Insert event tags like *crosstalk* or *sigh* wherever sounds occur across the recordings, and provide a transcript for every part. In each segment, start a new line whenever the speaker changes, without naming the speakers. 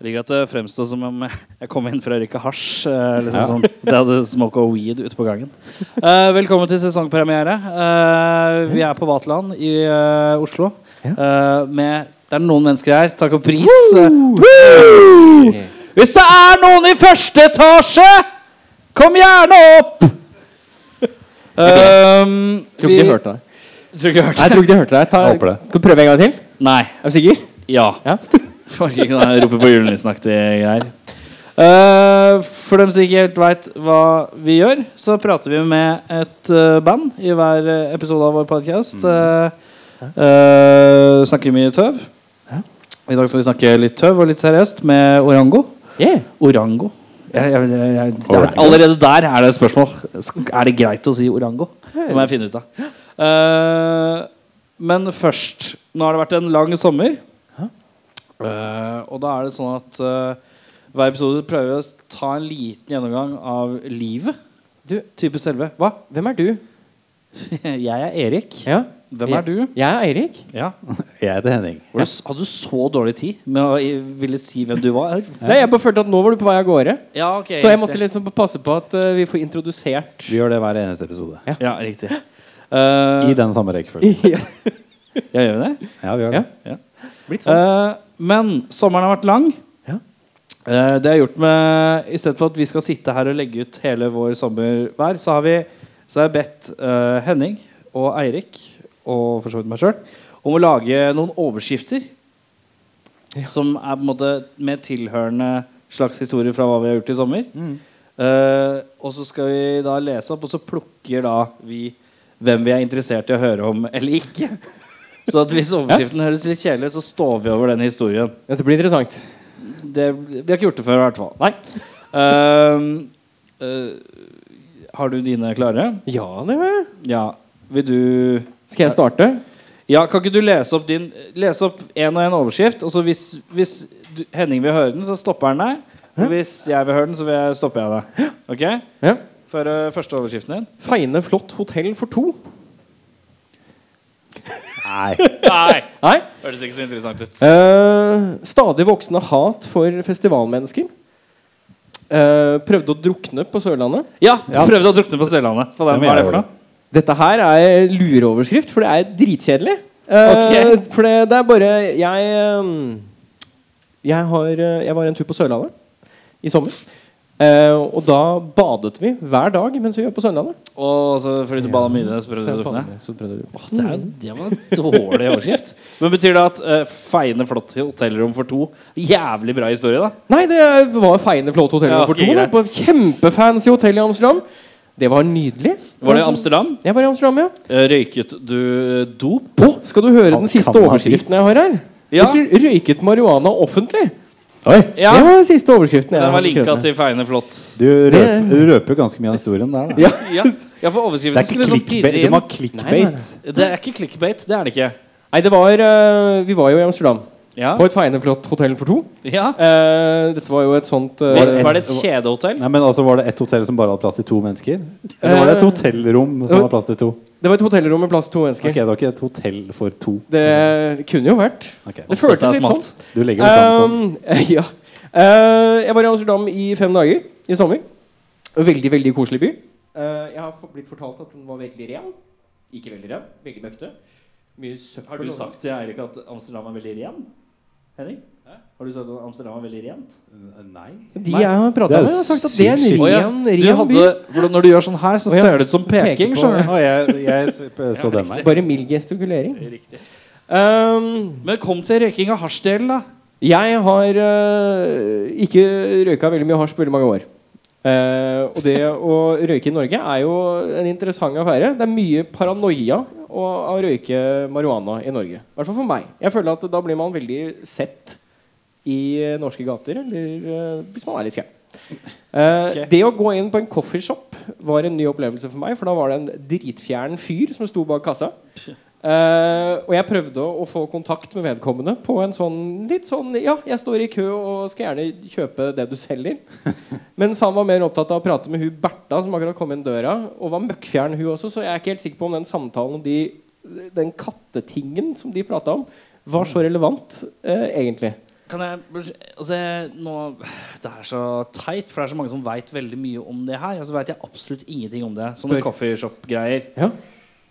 Jeg liker at det fremstod som om jeg kom inn for å røyke hasj. eh, Liksom sånn. Det hadde smoka weed ute på gangen. Eh, velkommen til sesongpremiere. Eh, vi er på Vaterland i eh, Oslo. Eh, med Det er noen mennesker her. Takk og pris. Woo! Hvis det er noen i første etasje, kom gjerne opp! Um,
Tror ikke de hørte deg.
Tror ikke de hørte
Nei, jeg tror ikke de hørte deg. Ta,
Jeg håper det.
Skal du prøve en gang til?
Nei.
Er du sikker?
Ja. *laughs*
Ja.
Orker ikke den rope på julenissen-aktige greier. Eh, for dem som ikke helt veit hva vi gjør, så prater vi med et eh, band i hver eh, episode av vår podkast. Mm. snakker mye tøv. I dag skal vi snakke litt tøv og litt seriøst med Orango.
Yeah.
Orango. Jeg, jeg, jeg, jeg, det er,
Orango.
allerede der er det et spørsmål. Sk- Er det greit å si orango? Det må jeg finne ut av. Eh, men først Nå har det vært en lang sommer. Eh, og da er det sånn at eh, hver episode prøver vi å s- ta en liten gjennomgang av livet.
Du-
type selve. Hva?
Hvem er du?
*laughs* Jeg er Erik.
Ja.
Hvem er du?
Jeg er Eirik.
Ja.
*laughs* Jeg heter Henning.
Var du s- Hadde du så dårlig tid med å i- ville si hvem du var?
Nei, jeg bare følte at nå var du på vei av gårde.
Ja, ok
Så jeg
riktig.
måtte liksom passe på at eh, vi får introdusert *laughs*
Vi gjør det hver eneste episode.
Ja, riktig. Eh,
I den samme rekkefølgen.
Ja, gjør vi det?
Ja, vi gjør det.
Blitt sånn.
Eh, men sommeren har vært lang.
Ja.
Eh, det er gjort med I stedet for at vi skal sitte her og legge ut hele vår sommer hver, så har, vi, så har jeg bedt eh, Henning og Eirik og for så vidt meg sjøl om å lage noen overskrifter som er på en måte med tilhørende slags historier fra hva vi har gjort i sommer.
Mm.
Eh, og så skal vi da lese opp, og så plukker da vi hvem vi er interessert i å høre om eller ikke. Så at hvis overskriften høres litt kjedelig ut, så står vi over den historien.
Dette blir interessant.
Det, vi har ikke gjort det før, i hvert fall.
Nei.
Ehm, eh, har du dine klare?
Ja, det var jeg.
Ja. Vil du
Skal jeg starte?
Ja, kan ikke du lese opp din Lese opp én og én overskrift, og så hvis, hvis du, Henning vil høre den, så stopper han deg. Og hvis jeg vil høre den, så vil jeg stopper jeg deg. Ok?
Ja.
For eh, første overskriften din.
Feine flott hotell for to.
Nei.
Nei!
Nei.
Høres ikke så interessant ut.
Eh, stadig voksende hat for festivalmennesker. Eh, prøvde å drukne på Sørlandet.
Ja, prøvde å drukne på Sørlandet. Hva
Det
er det
må jeg
for
gjøre.
noe?
Dette her er lureoverskrift, for det er dritkjedelig. Eh,
Ok.
For det, det er bare Jeg ehm, jeg, har, eh, jeg var en tur på Sørlandet i sommer. Eh, og da badet vi hver dag mens vi var på Sørlandet.
Og så fordi du bada mye, i det, så prøvde du å drukne? Det, er, det var en dårlig overskrift. Men Betyr det at eh, feiende flott hotellrom for to Jævlig bra historie, da.
Nei, det var feiende flott hotell.
Ja,
for
ok,
to, da,
greit.
på kjempefancy hotell i Amsterdam. Det var nydelig.
Var det i Amsterdam?
Jeg var i Amsterdam, ja.
Eh, Røyket du eh, dop?
Å, skal du høre den siste
cannabis.
overskriften jeg har her?
Ja.
Røy- Røyket marihuana offentlig.
Oi!
Ja,
Det var den siste overskriften. jeg
Den var
hadde
linka
skrevet ned.
til feiende flott.
Du røper, du røper ganske mye av historien der. Da.
Ja.
Ja, ja for
Det
overskriften
er ikke
skulle liksom pirre
clickbait. Du
inn.
må ha clickbait.
Det er ikke clickbait. Det er det ikke.
Nei, det var eh, Vi var jo i Amsterdam.
Ja.
På et feiende flott hotell for to.
ja.
Eh, dette var jo et sånt eh,
Var, var det et kjedehotell?
Nei, men altså Var det ett hotell som bare hadde plass til to mennesker? Eller var det et hotellrom som hadde plass til to?
Det var et hotellrom med plass til to mennesker.
Ok, Det var ikke et hotell for to.
Det kunne jo vært.
Ok.
Det føltes
er
litt
smalt.
sånn.
Du legger det fram sånn.
Eh, *laughs* ja. Eh, jeg var i Amsterdam i fem dager i sommer. Veldig, veldig koselig by. Eh, jeg har fått- blitt fortalt at den var veldig ren. Ikke veldig ren, veldig møkte. Mye søppel
Har du
og-
sagt til Eirik at Amsterdam er veldig ren? Henning? Har du sagt at Amsterdam er veldig rent?
Nei.
De jeg har
Det
prata
er
med,
jo
har sagt at det er en
sykt
Å ja,
ren,
Du
ren
hadde, hvordan- når du gjør sånn her, så
Å ja.
ser det ut som peking.
Peker på-
skjønner du?
Å, jeg, jeg s- så den
by.
der.
Bare mild gestikulering.
Riktig.
Um,
Men kom til røyking av hasjdelen, da.
Jeg har øh, ikke røyka veldig mye hasj på veldig mange år. Eh, og det å røyke i Norge er jo en interessant affære. Det er mye paranoia å, å røyke marihuana i Norge. I hvert fall for meg. Jeg føler at da blir man veldig sett i eh, norske gater, eller eh, hvis man er litt fjern. Eh,
Ok.
Det å gå inn på en coffeeshop var en ny opplevelse for meg, for da var det en dritfjern fyr som sto bak kassa. Eh, og jeg prøvde å få kontakt med vedkommende på en sånn litt sånn Ja, jeg står i kø og skal gjerne kjøpe det du selger. Mens han var mer opptatt av å prate med hun Bertha som akkurat kom inn døra, og var møkkfjern hun også, så jeg er ikke helt sikker på om den samtalen og de, den kattetingen som de prata om, var så relevant, eh, egentlig.
Kan jeg altså, jeg- nå, Det er så teit, for det er så mange som veit veldig mye om det her. Og så veit jeg absolutt ingenting om det. Sånne
Spør.
coffeeshop-greier.
Ja.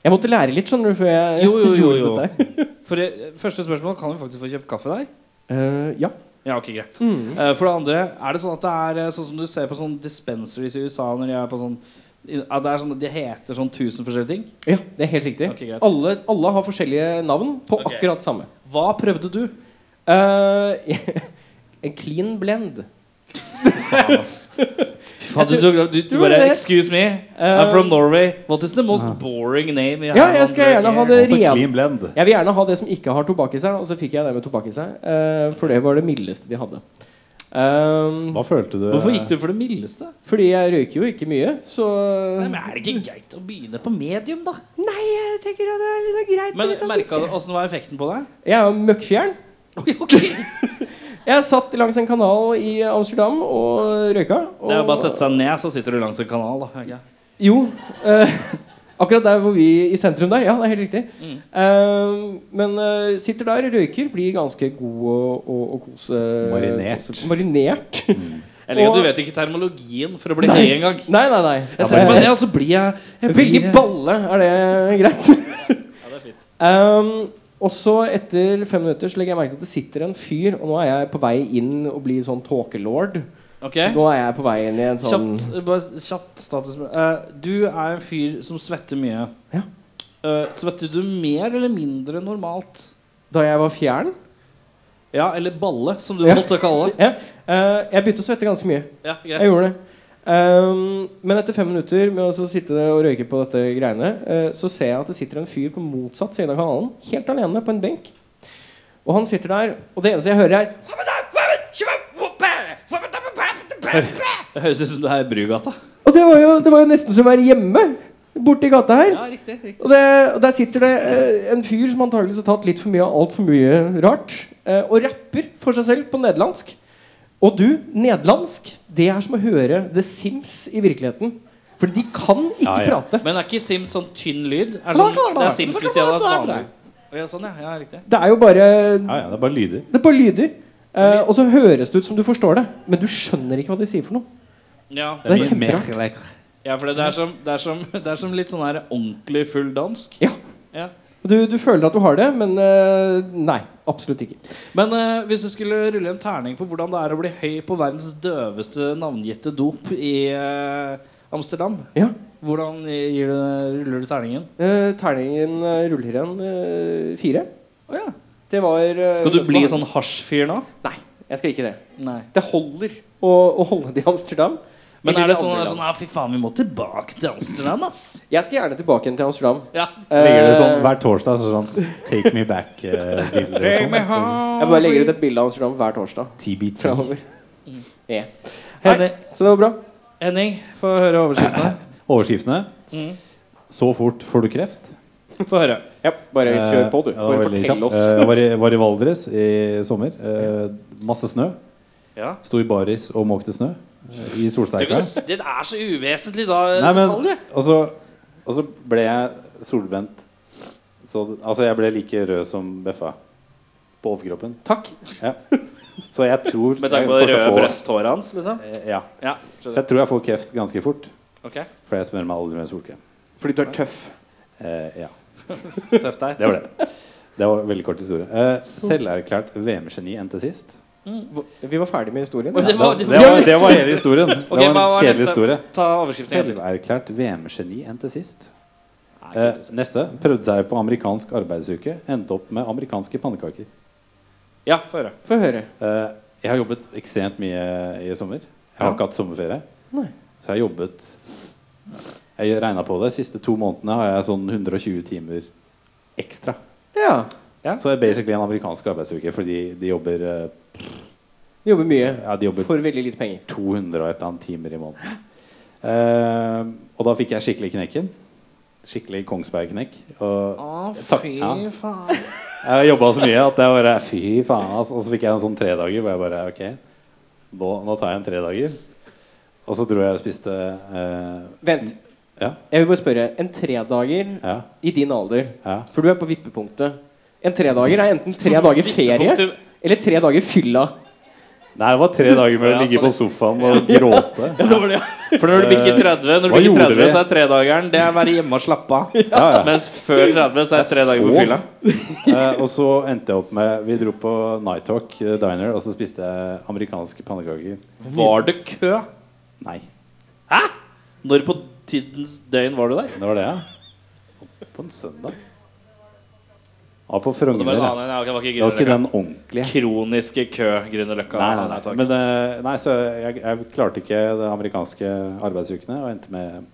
Jeg måtte lære litt, skjønner du, før jeg
Jo, jo, jo, jo.
gjorde dette.
For det, Første spørsmål kan vi faktisk få kjøpt kaffe der.
Eh, ja.
Ja, ok, greit Eh, For det andre, er det sånn at det er eh, sånn som du ser på sånn dispensaries i USA når de er på sånn i- at det er sånn, De heter sånn tusen forskjellige ting.
ja, det er helt riktig.
Ok, greit.
alle, alle har forskjellige navn på
Ok.
akkurat samme.
Hva prøvde du?
Eh, *laughs* en clean blend.
Faen, *laughs* ass. Fy faen, du,
Jeg
du, du, du
tror
bare
det-
Excuse me, I'm from Norway. What is the most boring name you
Ja,
have
jeg
on
skal
the-
gjerne ha det
Alt er
ren.
Clean blend.
Jeg vil gjerne ha det som ikke har tobakk i seg, og så fikk jeg det med tobakk i seg. eh, for det var det mildeste de hadde. Eh,
Hva følte du?
Hvorfor gikk du for det mildeste?
fordi jeg røyker jo ikke mye, så
Nei, men Er det ikke greit å begynne på medium, da?
Nei, jeg tenker at det er liksom greit.
Men
litt sånn-
merket du åssen var effekten på deg?
Jeg er jo møkkfjern.
Oi, *laughs* ok
*laughs* Jeg satt langs en kanal i Amsterdam og røyka. Og
Det er jo bare å sette seg ned, så sitter du langs en kanal. da Ok.
Jo. eh, *laughs* akkurat der hvor vi i sentrum der. Ja, det er helt riktig.
Mm.
Eh, men eh, sitter der, røyker, blir ganske god og, og, og kose...
Marinert.
kose- marinert.
Jeg liker at
Og-
du vet ikke termologien for å bli høy engang.
*laughs* nei, nei, nei.
Jeg setter meg ned, og så blir jeg, jeg blir,
Veldig balle, er det greit? *laughs*
Ja, det er fint.
Ehm, og så etter fem minutter så legger jeg merke til at det sitter en fyr, og nå er jeg på vei inn og blir sånn tåkelord.
Ok,
Nå er jeg på vei inn i en sånn
kjapt, bare kjapt status. Eh, du er en fyr som svetter mye.
Ja.
Eh, svetter du mer eller mindre enn normalt?
Da jeg var fjern.
Ja, eller balle, som du
Ja.
måtte kalle det.
Ja, eh, jeg begynte å svette ganske mye.
Ja, greit.
Jeg gjorde det. Ehm, men etter fem minutter med å så sitte og røyke på dette greiene, eh, så ser jeg at det sitter en fyr på motsatt side av kanalen, helt alene på en benk. Og han sitter der, og det eneste jeg hører, er
Det høres ut som du er i Brugata.
Og det var jo, det var jo nesten som å være hjemme borti gata her.
Ja, riktig, riktig.
Og, det, og der sitter det eh, en fyr som antakeligvis har tatt litt for mye av altfor mye rart, eh, og rapper for seg selv på nederlandsk. Og du, nederlandsk, det er som å høre The Sims i virkeligheten. For de kan ikke
Ja, ja.
prate.
Men er ikke Sims sånn tynn lyd? Er sånn, det er Sims hvis de hadde hatt vanlig. Å, Ja, sånn, ja. ja, riktig.
Det er jo bare
Ja, ja, det er bare lyder.
Det er bare lyder. Eh, og så høres det ut som du forstår det, men du skjønner ikke hva de sier for noe.
Ja,
Det er
mye mer
kjemperart.
ja for det, det, er som, det, er som, det er som litt sånn her ordentlig full dansk.
Ja.
Ja.
Du, du føler at du har det, men eh, nei. Absolutt ikke.
Men eh, hvis du skulle rulle en terning på hvordan det er å bli høy på verdens døveste navngitte dop i eh, Amsterdam,
Ja.
hvordan gir du, ruller du terningen?
Eh, terningen eh, ruller igjen eh, fire.
Å ja.
Det var eh,
Skal du
ganske
bli
behagelig.
sånn hasjfyr nå?
Nei, jeg skal ikke det.
Nei.
Det holder å, å holde det i Amsterdam.
Men er
Eller
det
i
sånn,
andre
er det sånn
land.
ah, Fy faen, vi må tilbake til Amsterdam, ass!
Jeg skal gjerne tilbake igjen til Amsterdam.
Ja.
sånn- Legger det sånn
Eh,
hver torsdag så sånn Take me back-bilder og sånn.
jeg bare legger ut et bilde av Amsterdam hver torsdag
TBT.
framover.
Mm.
Ja.
Henning,
Så det var bra.
Henning få høre overskriftene.
Overskriftene.
Mm.
Så fort får du kreft.
Få høre.
Ja, bare kjør på, du.
Eh, ja,
Bare
det var veldig
fortell
kjapt.
oss.
Eh, var, i, var i Valdres i sommer. Eh, masse snø.
Ja.
Sto i baris og måkte snø eh, i
Du,
solsteika.
kan- det er så uvesentlig, da. eh,
Nei, men,
detaljer.
og, så, og så ble jeg solbrent. Så, altså, jeg ble like rød som Beffa på overkroppen.
Takk.
Ja. Så jeg tror
Med tanke på
jeg
det
kommer til å
røde
få-
brøsthåret hans, liksom?
Eh, Ja.
Ja.
Så jeg tror jeg får kreft ganske fort.
Ok.
For jeg smører meg aldri med solkrem.
Fordi du er tøff.
Eh, ja.
Tøft deg.
Det var det. Det var en veldig kort historie. Eh, Selverklært VM-geni enn til sist.
Vi var ferdig med historien.
Men
Ja.
det var-
det, var, det var hele historien.
Ok,
det
hva
var
var
en kjedelig
neste?
historie.
Ta overskriften igjen.
Selverklært VM-geni enn til sist.
Nei,
Eh,
kult.
neste. Prøvde seg på amerikansk arbeidsuke. Endte opp med amerikanske pannekaker.
Ja, få høre.
Få høre.
Eh, jeg har jobbet ekstremt mye i sommer. Jeg har
Ja.
ikke hatt sommerferie.
Nei.
Så jeg har jobbet Jeg regna på det. De siste to månedene har jeg sånn 120 timer ekstra.
Ja.
Ja.
Så det er basically en amerikansk arbeidsuke, fordi de jobber eh,
De jobber mye.
Ja, de jobber
For veldig lite penger.
200 og et eller annet timer i måneden. Eh, og da fikk jeg skikkelig knekken. Skikkelig Kongsberg-knekk. Og takk- ja.
faen.
Jeg jobba så mye at jeg bare Fy faen, altså. Og så fikk jeg en sånn tredager hvor jeg bare OK, nå, nå tar jeg en tredager. Og så dro jeg og spiste eh,
Vent.
Ja.
Jeg vil bare spørre. En tredager
Ja.
i din alder,
Ja.
for du er på vippepunktet En tredager er enten tre dager ferie
Punktum.
eller tre dager fylla.
Nei, det var tre dager med å
Ja,
ligge
sånn.
på sofaen og gråte.
Det var det, *laughs* ja. For når du bikker 30, når du
Hva
bikker 30
gjorde vi?
så er tredageren Det er å være hjemme og slappe av.
*laughs* Ja, ja.
Mens før 30 så er det tre dager på
sov.
fylla.
Eh, og så endte jeg opp med Vi dro på Nighthawk eh, Diner, og så spiste jeg amerikanske pannekaker.
Var det kø?
Nei.
Hæ? Når på tidens døgn var du der?
Det var det, ja. På en søndag. Ja, på
Det
Frogner.
var, en
ja.
annen, ja, det var ikke
Det var ikke
Grünerløkka.
den ordentlige.
Kroniske kø Grünerløkka.
Nei, nei,
Nei,
nei.
takk.
Men, eh, nei, så jeg, jeg klarte ikke det amerikanske arbeidsukene og endte med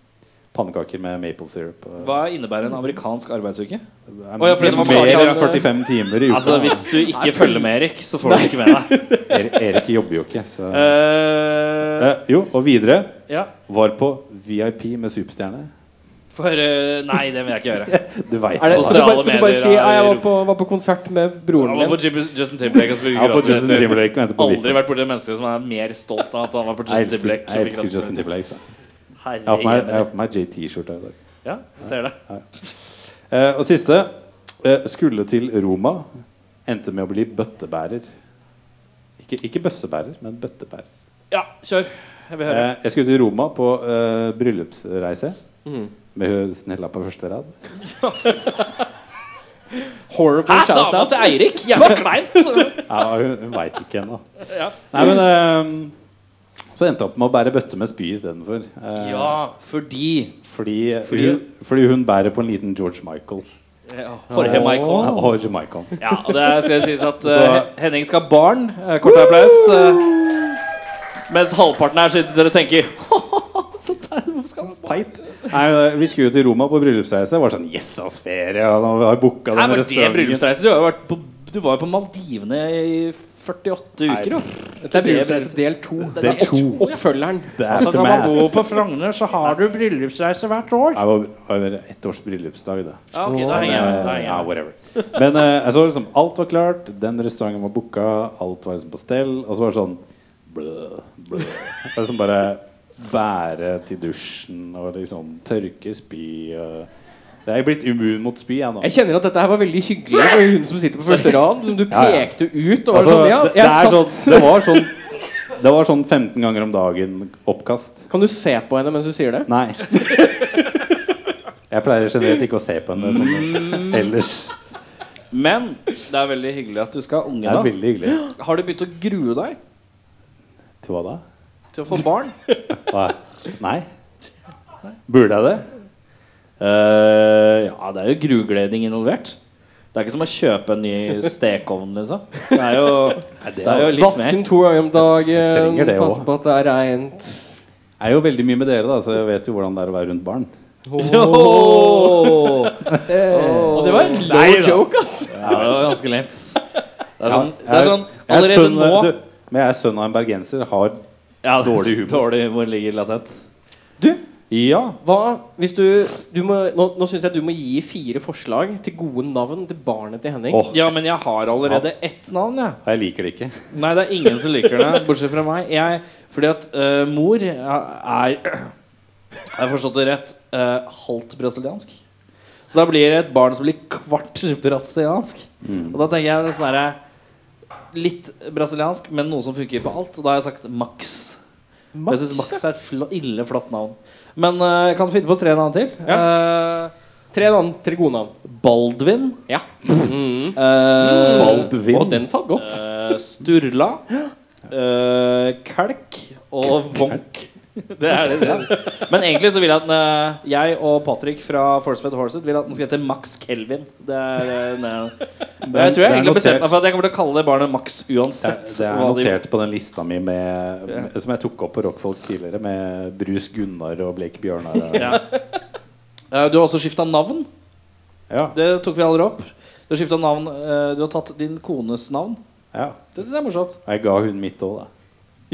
pannekaker med maple syrup. og-
Hva innebærer en amerikansk arbeidsuke?
Jeg-
Å, ja, fordi det var
mer
pannekaker,
enn 45 timer i uka.
Altså, Hvis du ikke følger med Erik, så får du ikke med deg.
*laughs* Er, Erik jobber jo ikke, så
*laughs* Eh,
Eh, Jo, og videre
ja.
var på VIP med superstjerne.
For eh, Nei, det vil jeg ikke
*laughs*
gjøre.
Du veit
Er det,
Sosiale
skal, du bare, skal du bare
medier
si
er
«Ah, jeg var
rop».
på, var på konsert med
Han
broren
var på
min?
Jib- Justin Timberlake. og så fikk
Ja, på
gratis
Justin
etter.
Timberlake og endte på
*laughs* Aldri
VIP.
vært borti et menneske som er mer stolt av at han var på
Jeg
Justin
elsker,
Timberlake.
jeg elsker Justin Timberlake. da. Jeg har på meg, jeg har
Herregud.
på meg JT-skjorta i dag.
Ja, jeg ser det.
Eh, og siste. Eh, skulle til Roma. Endte med å bli bøttebærer. Ikke, ikke bøssebærer, men bøttebærer.
Ja, kjør. Jeg vil høre.
Eh, jeg skulle til Roma på eh, bryllupsreise.
Mm.
Med hun snella på første
*laughs*
rad.
Horrible
Hæ, dama
shout-out.
til Eirik? Jævla
*laughs*
kleint!
Ja, hun, hun veit ikke ennå.
Ja.
Nei, men eh, Så endte jeg opp med å bære bøtte med spy istedenfor. Eh,
Ja, fordi
fordi,
Fordi-
hun, fordi hun bærer på en liten George Michael.
Jorge Michael.
Ja, George Michael.
Ja, og det skal sies at
Så-
eh, Henning skal ha barn. Eh, Kort applaus. eh, mens halvparten her sitter dere og tenker Så teit, hvorfor skal han
Teit. Nei, men, eh, vi skulle jo til Roma på bryllupsreise. Det var sånn Yes, ass, ferie! Og nå har vi booka
Her
den
var det
restauranten.
bryllupsreise. Du, har jo vært på, du var jo på Maldivene i 48
Nei.
uker, jo.
Dette er bryllupsreise del to.
Det er
to.
Oppfølgeren.
Det er
Altså, når man
aftermath.
bor på Frogner, så har du bryllupsreise hvert år.
Jeg var over ett års bryllupsdag, da.
Ja, ok, da
Men,
henger jeg med. Da
eh,
henger jeg
ja,
med.
whatever. Men eh, jeg så liksom alt var klart, den restauranten var booka, alt var liksom på stell, og så var det sånn blø, blø. Det var liksom bare bære til dusjen og liksom tørke spy og Det er jo blitt immun mot spy, jeg nå.
Jeg kjenner at dette her var veldig hyggelig for hun som sitter på første rad, som du
Ja, ja.
pekte ut. Og var
Altså,
sånn, ja,
det, det,
jeg
er
satt.
sånn, det var sånn Det var sånn 15 ganger om dagen oppkast.
Kan du se på henne mens du sier det?
Nei. Jeg pleier generelt ikke å se på henne sånn ellers.
Men det er veldig hyggelig at du skal ha
Det er
unge.
veldig hyggelig.
da Har du begynt å grue deg
Til hva da?
til å få *laughs* barn?
Hva? Nei. Burde jeg det?
Eh, ja, det er jo grugledning involvert. Det er ikke som å kjøpe en ny stekeovn, liksom. Det er jo, det er jo litt
Vask
mer.
den to ganger om dagen.
trenger det
Pass
også.
på at det er reint.
Jeg er jo veldig mye med dere, da, så jeg vet jo hvordan det er å være rundt barn.
Åh.
Og det var en low
Nei, da.
joke, ass.
Ja, det var ganske lent. Det er sånn,
Ja,
det er sånn
jeg er
allerede
sønn-
nå
du, Men jeg er sønn av en bergenser. Har
ja, det-
dårlig humor.
Dårlig humor ligger latent.
Du,
Ja.
hva hvis du, du må, Nå, nå syns jeg du må gi fire forslag til gode navn til barnet til Henning.
Åh,
ja, men jeg har allerede ett navn, jeg.
Jeg liker det ikke.
Nei, det er ingen som liker det, bortsett fra meg. Jeg, fordi at eh, mor er Jeg har forstått det rett eh, halvt brasiliansk. Så da blir det et barn som blir kvart brasiliansk.
Mm.
Og da tenker jeg sånn herre Litt brasiliansk, men noe som funker på alt. Og da har jeg sagt Max. For Jeg synes Max er et fl ille flott navn. Men eh, jeg kan finne på tre navn til. Eh,
Tre navn, tre gode navn.
Baldvin.
Ja.
eh,
Baldvin.
Og den satt *laughs* godt.
Eh, Sturla, eh, Kalk og Vonk. Det er det, det. er. *laughs* Men egentlig så vil jeg at den, eh, jeg og Patrick fra Forcefed Horset vil at den skal hete Max Kelvin. Det er, eh, ne- jeg tror jeg egentlig har bestemt meg for at jeg kommer til å kalle det barnet Max
Det
uansett.
det er
hva de-
notert på den lista mi med, med, som jeg tok opp på Rockfolk tidligere, med Brus Gunnar og Blek Bjørnar.
*laughs*
Og,
Ja. Eh, Du har også skifta navn.
ja.
Det tok vi aldri opp. Du har skiftet navn eh, Du har tatt din kones navn.
Ja.
Det syns jeg er morsomt.
Jeg ga hun mitt òg, da.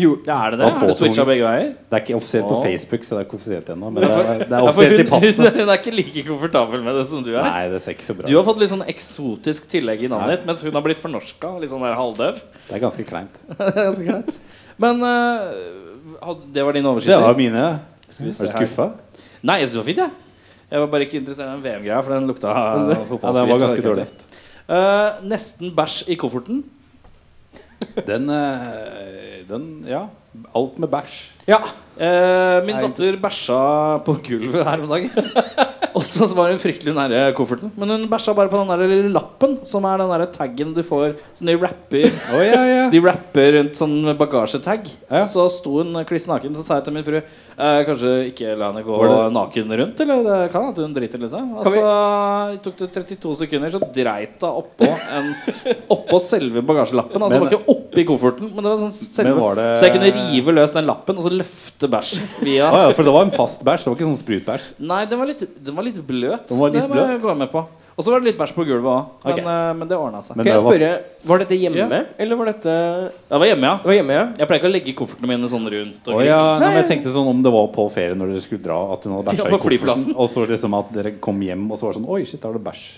Jo, er det det?
Han
Har du switcha
påtvunget.
begge veier?
Det er ikke offisielt på
Å.
Facebook, så det er ikke offisielt ennå. Men det er, det er offisielt i
hun, hun,
passet.
er ikke like komfortabel med det som du er.
Nei, det ser ikke så bra
Du har
ut.
fått litt sånn eksotisk tillegg i navnet ditt, mens hun har blitt fornorska. Litt sånn der halvdøv.
Det er ganske kleint.
Ganske greit. Men eh, had- det var din
Det var
overskrift?
mine.
Skal vi
Er
se
du
her.
skuffa?
Nei, jeg syns det var fint, jeg. Jeg var bare ikke interessert i den VM-greia, for den lukta
Ja, den var ganske dårlig.
Eh, nesten bæsj i kofferten.
Den, eh, den Ja. Alt med bæsj.
Ja. Eh, min
Nei.
datter bæsja på gulvet her om dagen. *laughs* Og så var hun fryktelig nære kofferten. Men hun bæsja bare på den der lille lappen, som er den der taggen du får som de rapper
Å ja, ja.
*laughs* De rapper rundt sånn bagasjetag. Så sto hun kliss naken, så sa jeg til min fru eh, Kanskje ikke la henne gå naken rundt, eller det kan at hun driter litt seg. Og
Kan vi-
så tok det 32 sekunder, så dreit hun oppå, en- oppå selve bagasjelappen. Altså
Men-
det var ikke oppi kofferten, men det var sånn selve
Men var det-
Så jeg kunne rive løs den lappen og så løfte bæsjen via
Å ja, for det var en fast bæsj. Det var ikke sånn sprutbæsj.
Nei, den var litt, den var litt bløt.
Den var litt
det må jeg gå med på. Og så var det litt bæsj på gulvet òg, men,
Ok.
eh, men det ordna seg.
Kan
Men det
jeg
var-
spørre, var dette hjemme,
Ja.
eller var dette Det
Jeg var hjemme, ja.
var hjemme, ja?
Jeg pleier ikke å legge koffertene mine sånn rundt.
Å
omkring.
ja, nei, men jeg tenkte sånn om det var på ferie når dere skulle dra, at hun hadde bæsja
Ja,
i
på
kofferten,
flyplassen.
og så liksom at dere kom hjem, og så var det sånn Oi, shit, der har du bæsj.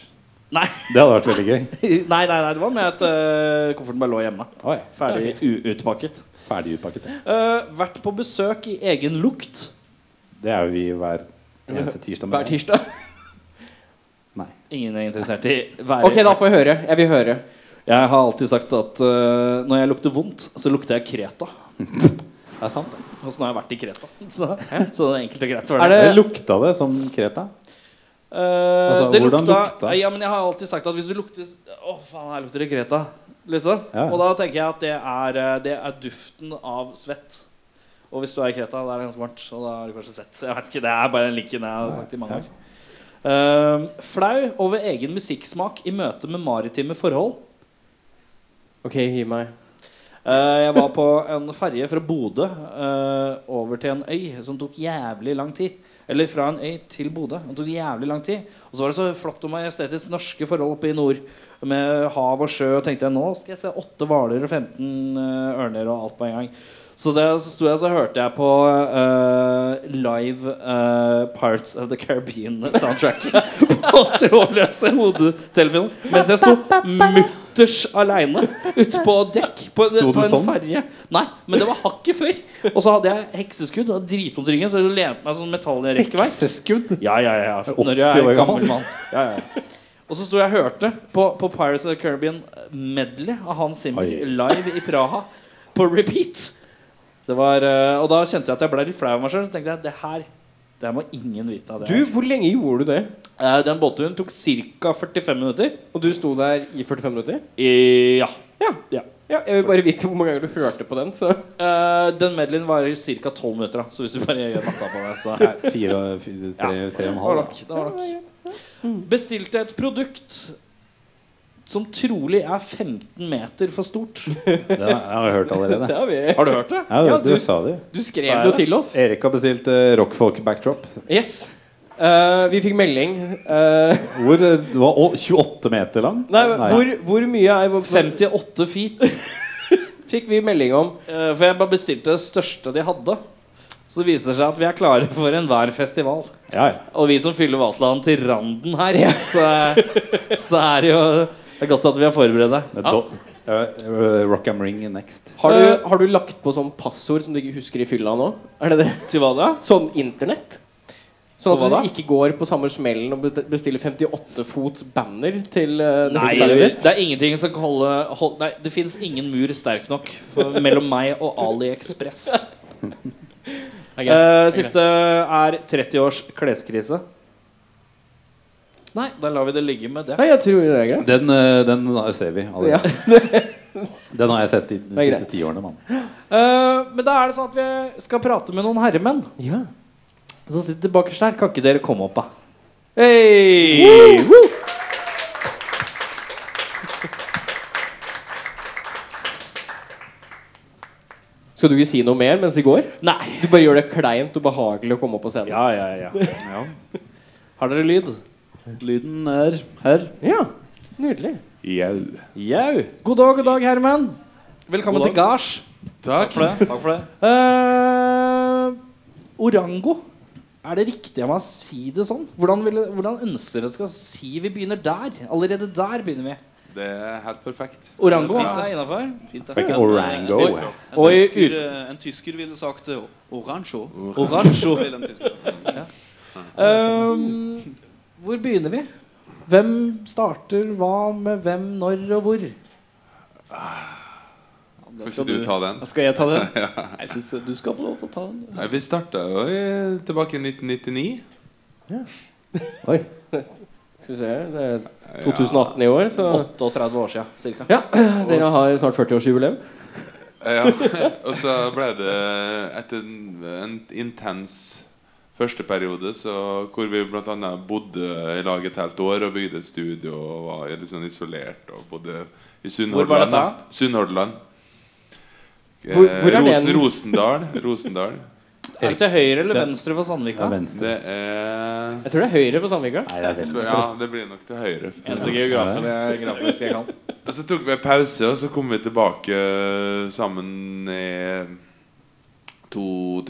Nei. *laughs*
Det hadde vært veldig gøy.
nei, nei, nei, det var med at eh, kofferten bare lå hjemme.
Å ja.
Ferdig uutpakket.
Ferdig utpakket. ja.
Eh, vært på besøk i egen lukt.
Det er jo vi hver eneste tirsdag. med
Hver
deg.
tirsdag?
Nei.
Ingen er interessert i være
Ok, da får jeg høre. Jeg vil høre.
Jeg har alltid sagt at eh, når jeg lukter vondt, så lukter jeg Kreta.
Det *laughs* er sant.
Og så nå har jeg vært i Kreta. *laughs* Så, så det er enkelt og greit.
Er
Var det.
det-
Det lukta det som Kreta.
Eh,
Altså,
det
hvordan
lukta,
lukta?
Ja, men jeg har alltid sagt at hvis du lukter Å, faen, her lukter det Kreta. Liksom.
Ja.
Og da tenker jeg at det er, eh, det er duften av svett. Og hvis du er i Kreta, da er det ganske varmt, og da er du kanskje svett. Jeg vet ikke, Det er bare den linken jeg har sagt i mange år. Eh, flau over egen musikksmak i møte med maritime forhold.
Ok, gi meg.
Eh, jeg var på en ferje fra Bodø eh, over til en øy som tok jævlig lang tid. Eller fra en øy til Bodø. Det tok jævlig lang tid. Og så var det så flott og majestetisk norske forhold oppe i nord. Med hav og sjø. Og tenkte jeg nå skal jeg se åtte hvaler og 15 ørner og alt på en gang. Så det så sto jeg og så hørte jeg på eh, live eh, Parts of the Caribbean-soundtrack *laughs* på trådløse hodetelefoner mens jeg sto mutters aleine ute på dekk på,
Sto du
på en
sånn?
ferje. Nei, men det var hakket før. Og så hadde jeg hekseskudd og dritvondt i ryggen, så jeg lente meg sånn metallen rekkverk.
Hekseskudd.
Ja, ja, ja.
80
Når jeg
år
er gammel
gammel.
mann. Ja, ja. Og så sto jeg og hørte på, på Pirates of the Caribbean eh, medley av Hans Zimmer
Oi.
live i Praha på repeat. Det var, eh, og da kjente jeg at jeg ble litt flau av meg sjøl. Så tenkte jeg det her det her må ingen vite av det.
Du,
her.
hvor lenge gjorde du det?
Eh, den båtturen tok ca. 45 minutter.
Og du sto der i 45 minutter?
I, ja.
Ja.
Ja.
ja jeg vil bare vite hvor mange ganger du hørte på den, så
Eh, den medleyen varer ca. 12 minutter, da. så hvis du bare gjør matta på det, så
Nei, fire, og- fire, tre, tre og en
Det var
halv.
nok. Mm. Det var nok. Bestilte et produkt som trolig er 15 meter for stort.
da. Det har jeg hørt allerede.
Det har vi.
Har du hørt det?
Ja,
Ja,
du,
du-
du sa det jo.
Du skrev
Sa jeg
det jo
det?
til oss.
Erik har bestilt eh, rockfolk backdrop.
Yes. Eh, vi fikk melding. Eh,
Hvor eh, det var å, 28 meter lang?
nei, men Hvor, hvor mye er hvor,
58 feet.
Fikk vi melding om
Eh, For jeg bare bestilte det største de hadde. Så det viser seg at vi er klare for enhver festival.
Ja, ja.
Og vi som fyller Vaterland til randen her, så, så er det jo Det er godt at vi er forberedt.
Det er
Ja.
do- Eh, eh, Rock am ring next.
har du,
Eh,
har du lagt på sånn passord som du ikke husker i fylla nå? Er det det?
Til hva da?
Sånn internett? Sånn
På
at
hva
du ikke går på samme smellen og bet- bestiller 58 fots banner til eh, neste
Nei,
bandet ditt?
det er ingenting som kan holde, hold, Nei, det fins ingen mur sterk nok for, mellom meg og *laughs* AliExpress.
Det er greit.
Eh, siste er 30 års kleskrise. Nei, da lar vi det ligge med det.
Nei, jeg tror det er greit.
Den, eh, den ser vi
Ja.
allerede. Den har jeg sett i de
Det er
siste
greit.
ti årene. Mann.
Eh, men da er det sånn at vi skal prate med noen herremenn
*laughs* ja.
som sitter bakerst her. Kan ikke dere komme opp, da? Hey!
*laughs* Skal du ikke si noe mer mens de går?
Nei.
Du bare gjør det kleint og behagelig å komme opp på scenen.
Ja, ja, ja. Har dere lyd?
Lyden er her.
Ja, Nydelig.
Jau.
Jau. God dag, god dag, Herman. Velkommen
God
til gards.
Takk.
Takk for det. Eh, orango. Er det riktig av meg å si det sånn? Hvordan, vil, hvordan ønsker dere at jeg skal si vi begynner der? Allerede der begynner vi.
Det er helt perfekt.
Orango
Fint, det
er
er innenfor. Fint, det.
Fikk
En-
orango.
en- en-
Oi,
En tysker,
ut-
eh, en tysker ville sagt eh, oransjo.
oransje.
Vil en tysker.
Ehm, hvor begynner vi? Hvem starter hva med hvem, når og hvor?
Da
Kan
skal
ikke du ta den?
Skal jeg ta den? Jeg synes Du skal få lov til å ta den.
Nei, Vi starta jo i- tilbake i 1999.
Oi. Skal vi se det er 2018 i år, så
38 år siden, cirka.
Ja, dere har snart 40-årsjubileum.
Ja. Og så ble det etter en, en intens første periode så, hvor vi bl.a. bodde i lag et helt år og bygde et studio og var litt sånn isolert og bodde i
Hvor var dette
Sunnhordland. da. Sunnhordland. Eh,
Hvor- hvor er
Rosen,
den?
Rosendal. Rosendal.
Er det til høyre eller venstre for Sandvika?
venstre.
Det er
Jeg tror det er høyre på Sandvika.
Nei, det er venstre.
Ja, det blir nok til høyre.
Eneste altså geografen jeg, grafisk jeg kan.
Og så tok vi en pause, og så kom vi tilbake eh, sammen i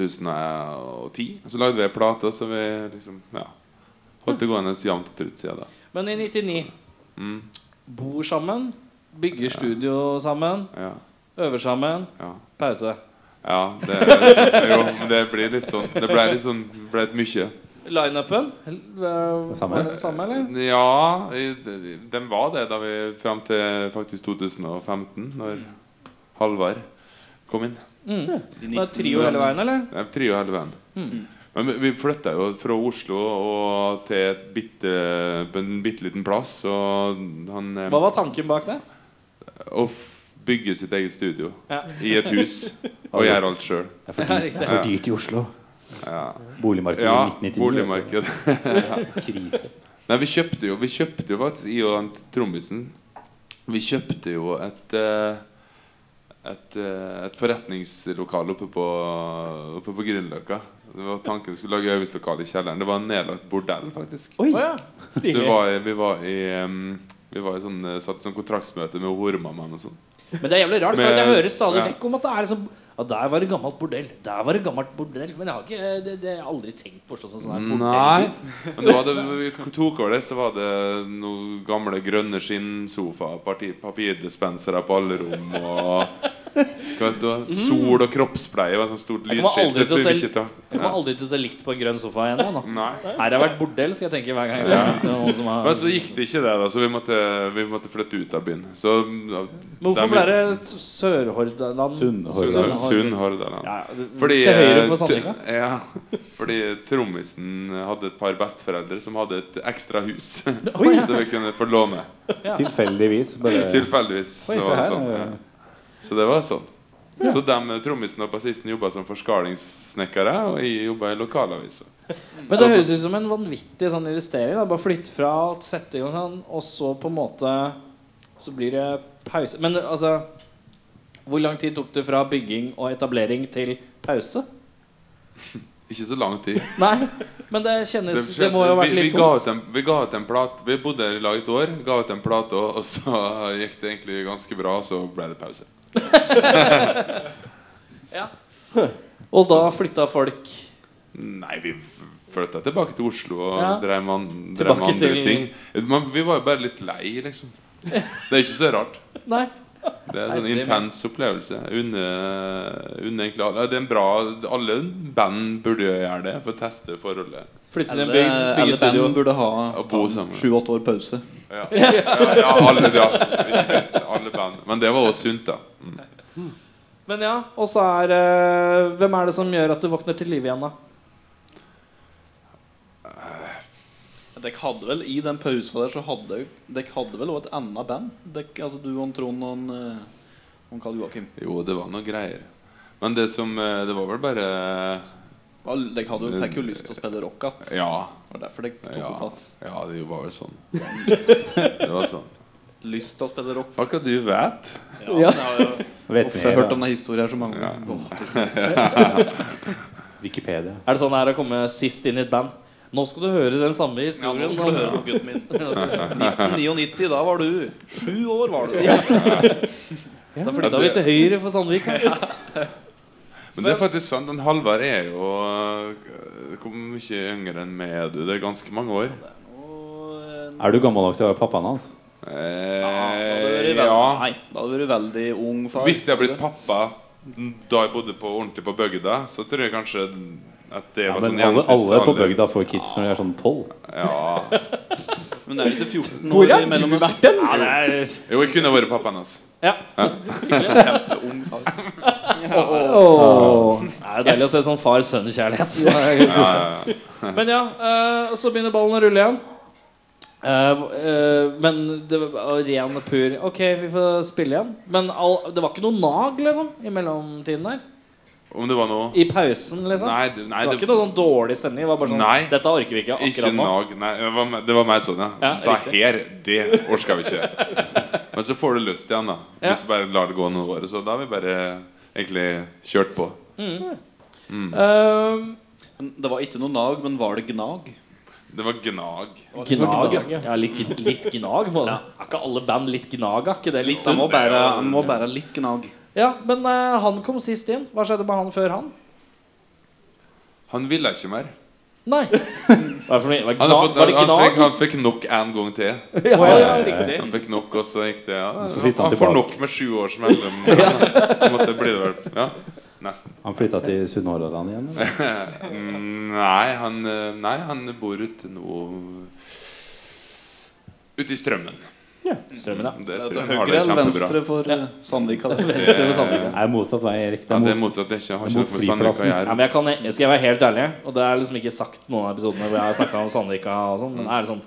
2010. Og så lagde vi en plate, så vi liksom ja, holdt det gående jevnt og trutt siden da.
Men i 99
Mm,
bor sammen, bygger studio sammen,
ja,
øver sammen,
ja.
pause.
ja det, er liksom, jo, men det blir litt sånn Det ble litt sånn ble litt mye.
Lineupen? eh,
Samme.
var den samme, eller?
Ja, i- de- den var det da vi fram til faktisk 2015, når Halvard kom inn.
Det er trio hele veien, eller?
Nei, Trio hele veien. Men vi- vi flytta jo fra Oslo og til et bitte, på en bitte liten plass. Og han eh,
Hva var tanken bak
*laughs*
det?
Å f- bygge sitt eget studio
Ja.
i et
*laughs*
hus og gjøre alt sjøl.
Det er for dyrt, det er for dyrt i Oslo.
Ja,
Boligmarkedet
ja
i 1999.
boligmarked.
vet du. Krise.
Nei, vi kjøpte jo Vi kjøpte jo faktisk, i og han trommisen Vi kjøpte jo et eh, et, eh, et forretningslokale oppe på, oppe på Grünerløkka. Det var Tanken vi skulle lage øvingslokale i kjelleren. Det var en nedlagt bordell, faktisk.
Oi,
Å ja.
Så vi
stilig.
var i, vi var i, em, vi var i sånn, eh, satt i sånn kontraktsmøte med horemammaen og sånn.
Men det er jævlig rart, for
Men-
at jeg hører stadig
ja.
vekk om at det er liksom ja, Der var det gammelt bordell. Der var det gammelt bordell. Men jeg har ikke eh, det, det jeg har aldri tenkt på Oslo som sånn her
Nei. Men da det, vi tok over det, så var det noen gamle grønne skinnsofaer, parti- papirdispensere på alle rom og hva det stod, Sol og kroppspleie var et sånt stort
Mm. Jeg kommer
lysskilt.
aldri
Det
til å
tror vi
se-
ikke ta.
Jeg kommer aldri til å se likt på en grønn sofa igjen. Jeg, nå.
Nei.
Her har det vært bordell, skal jeg tenke hver gang. jeg går. Det er noen som har...
Men så gikk det ikke, det, da, så vi måtte, vi måtte flytte ut av byen. Så ja,
Men hvorfor
dem-
ble det S- Sør-Hordaland?
Sunn-
Sunnhordland.
Sunnhordaland.
Ja, det-
Fordi,
til høyre
eh,
for
t-
Sandvika?
*laughs* Ja, fordi trommisen hadde et par besteforeldre som hadde et ekstra hus. *laughs* Så vi kunne få låne.
Tilfeldigvis. Bare
Tilfeldigvis. Så,
Oi, se
var det
her,
sånn,
ja.
ja. så det var sånn. Så de trommisen og bassisten jobba som forskalingssnekkere, og jeg jobba i lokalavisa.
Men det høres ut som en vanvittig sånn investering. Da. Bare flytte fra alt, sette i gang sånn, og så på en måte Så blir det pause. Men altså Hvor lang tid tok det fra bygging og etablering til pause?
Ikke så lang tid.
Nei, men det kjennes *laughs* Det må jo ha vært
vi, vi,
litt
ga ut
tungt.
en, vi ga ut en plate. Vi bodde her i lag et år, ga ut en plate, og, og så *laughs* gikk det egentlig ganske bra, og så ble det pause.
Og da flytta folk
Nei, vi f- flytta tilbake til Oslo og
Ja.
drev med, an- drev
Tilbake
med andre
til-
ting. Man, vi var jo bare litt lei, liksom. Det er ikke så rart.
Nei.
Det er
Nei,
en sånn
det-
intens opplevelse. Unner unner egentlig alle ja, Det er en bra Alle band burde jo gjøre det for å teste forholdet.
Flytte til en bygd,
Alle, alle
bygge studio.
band burde
Og bo
ha
sammen.
sju-åtte år pause.
Ja, ja, ja alle, ja. Ikke minst, alle band. Men det var også sunt, da. Mm.
Men ja, og så er eh, Hvem er det som gjør at det våkner til liv igjen, da?
Dere hadde vel i den pausen der så hadde dere hadde vel også et annet band? Dere, altså du og Trond og en, eh, og en Karl Joakim.
Jo, det var noe greier. Men det som eh, Det var vel bare
Ja, Dere hadde jo- fikk jo lyst til å spille rock igjen. Det
Ja.
var derfor dere tok
Ja,
opp at
ja det var vel sånn. Det var sånn.
lyst til å spille rock.
Hva kan du vet?
Ja,
Ja.
Jeg har jo
*laughs* Vet
ofte
mer,
hørt
da.
om den historien her så mange ganger. Åh,
Wikipedia.
Er det sånn det er å komme sist inn i et band? Nå skal du høre den samme historien.
nå skal du høre om *laughs* gutten min. 1999, da var du sju år. var du da.
Da flytta vi til høyre for Sandvik.
Men det er faktisk sant. Den Halvard er jo øh, Hvor mye yngre enn meg er du? Det er ganske mange år.
Og,
Er du gammeldags til å være pappaen hans?
Eh,
eh, da hadde du vært veldig-
ja.
Nei, da hadde du vært veldig ung far.
Hvis jeg hadde blitt pappa da jeg bodde på ordentlig på bygda, så tror jeg kanskje at det
Ja,
var
men
sånn
alle, alle på
gjennomsnittsalder.
bygda får kids når de er sånn tolv.
Ja.
Men det er jo til 14 år
Hvor har
imellom
du
oss.
vært den?
Jo, jeg kunne vært pappaen hans.
Ung far.
Åh.
Det er deilig å se sånn far-sønn-kjærlighet.
Ja, ja, ja.
Men ja, eh, og så begynner ballen å rulle igjen. Eh, eh, men det var ren og pur Ok, vi får spille igjen. Men all, det var ikke noe nag liksom i mellomtiden der?
Om det var noe
I pausen, liksom?
Nei, det,
det
nei,
var
det,
ikke noe sånn dårlig stemning? Det var bare sånn
Nei.
Dette orker vi ikke
Ikke
akkurat nå.
nag. Nei, det var, me- det var mer sånn, ja.
Ja,
da
riktig.
her, det orker vi ikke.
*laughs*
Men så får du lyst igjen, da.
Ja.
Hvis du bare lar det gå noen år. Så da har vi bare egentlig kjørt på.
Eh,
Men Det var ikke noe nag, men var det gnag?
Det var gnag.
Gnag, ja. ja litt, litt gnag på det. Er ikke alle band litt gnaga? Ikke det litt
Det må
sunt?
bære, må bære litt gnag.
Ja, men eh, han kom sist inn. Hva skjedde med han før han?
Han ville ikke mer.
Nei. Hva er det for noe? Var
Han, har
gnag?
fått,
Var det
han, fikk,
gnag?
han fikk nok en gang til.
Ja, ja, riktig.
Han fikk nok, og så gikk det ja.
Så
Han,
flyttet han
får
tilbake.
nok med sju års mellom.
*laughs*
Han måtte bli det vel Ja, nesten.
Han flytta til Sunnhordland igjen? eller?
Mm, *laughs* Nei, han, eh, nei, han bor ute nå Ute i strømmen. Mm,
Strømmen, ja.
Det
Det er
tror
til
jeg han har
høyre
det
eller
kjempebra.
venstre for eh, Sandvik. hadde jeg.
Venstre ved Sandvika.
Det er motsatt vei, Erik. Det
Ja,
er
det er
mot,
motsatt. Det er ikke, har
Det
ikke
er
noe
mot
for Sandvika å
flyplassen.
Ja,
gjøre.
men jeg, kan, jeg skal være helt ærlig, og det er liksom ikke sagt noen av episodene hvor jeg har snakket om Sandvika og sånn, men det er liksom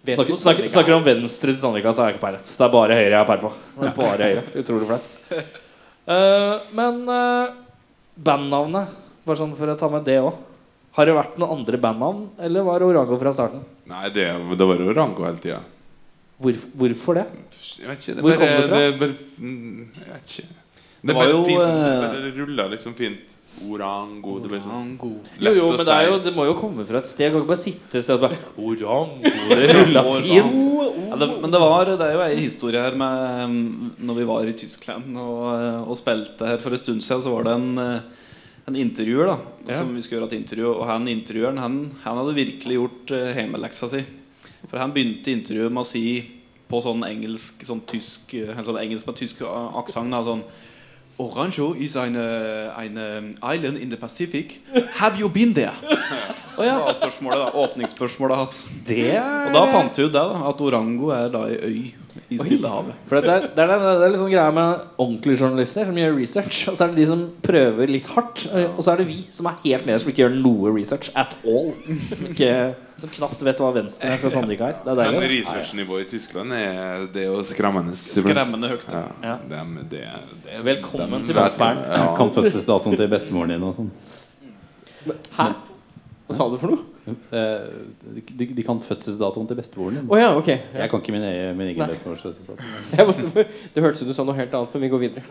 Snakker, snakker, snakker om venstre til Sandvika, så er jeg ikke peilet. Det er bare høyre jeg har peil på. Det er bare høyre. Utrolig flaut. *laughs* Eh, men eh, bandnavnet, bare sånn for å ta med det òg. Har det vært noen andre bandnavn, eller var det Orango fra starten?
Nei, det, det var jo Rango hele tida.
Hvorf hvorfor det?
Jeg vet ikke. Det
Hvor
bare,
kom det fra?
det bare mm, Jeg vet ikke. Det,
Det var
bare
jo,
fint.
eh,
Det bare rulla liksom fint. Orango Det ble sånn
Gnag.
Jo,
lett
jo,
å
men det, er
si.
jo, det må jo komme fra et sted. Jeg kan ikke bare sitte et sted og bare Orango, det rulla fint.
Ja, det, men det, var, det er jo ei historie her med um, Når vi var i Tyskland og, eh, og spilte her for en stund siden, så var det en, eh, en intervjuer da som vi skulle gjøre et intervju. Og han intervjueren han, han hadde virkelig gjort eh, hjemmeleksa si. For han begynte intervjuet med å si på sånn engelsk sånn tysk, eh, sånn engelsk med tysk aksent sånn Orange is an, eh, an eh, island in the Pacific. Have you been there? Og *laughs* ja, spørsmålet da, Åpningsspørsmålet hans. Og
Eh.
da fant vi ut det, da. At Orango er da ei øy i Stillehavet.
For det er, det, er, det er liksom greia med ordentlige journalister som gjør research. Og så er det de som prøver litt hardt. Og så er det vi som er helt nede, som ikke gjør noe research at all. Som, ikke, som knapt vet hva venstre fra Sandvika er. Det er
Men
deilig.
researchnivået i Tyskland er Det er jo skremmende.
Skremmende høyt.
Ja.
Ja.
Dem, det, det,
Velkommen
dem
til
vet-
velferden.
Ja.
Kan fødselsdatoen til bestemoren din og sånn.
Hæ? Hva sa du for noe?
Eh, De, de kan fødselsdatoen til bestemoren din.
Å ja, ok. Ja.
Jeg kan ikke min egen, min
Nei.
egen bestemors fødselsdato.
Jeg måtte, det hørtes ut som du sa noe helt annet, men vi går videre.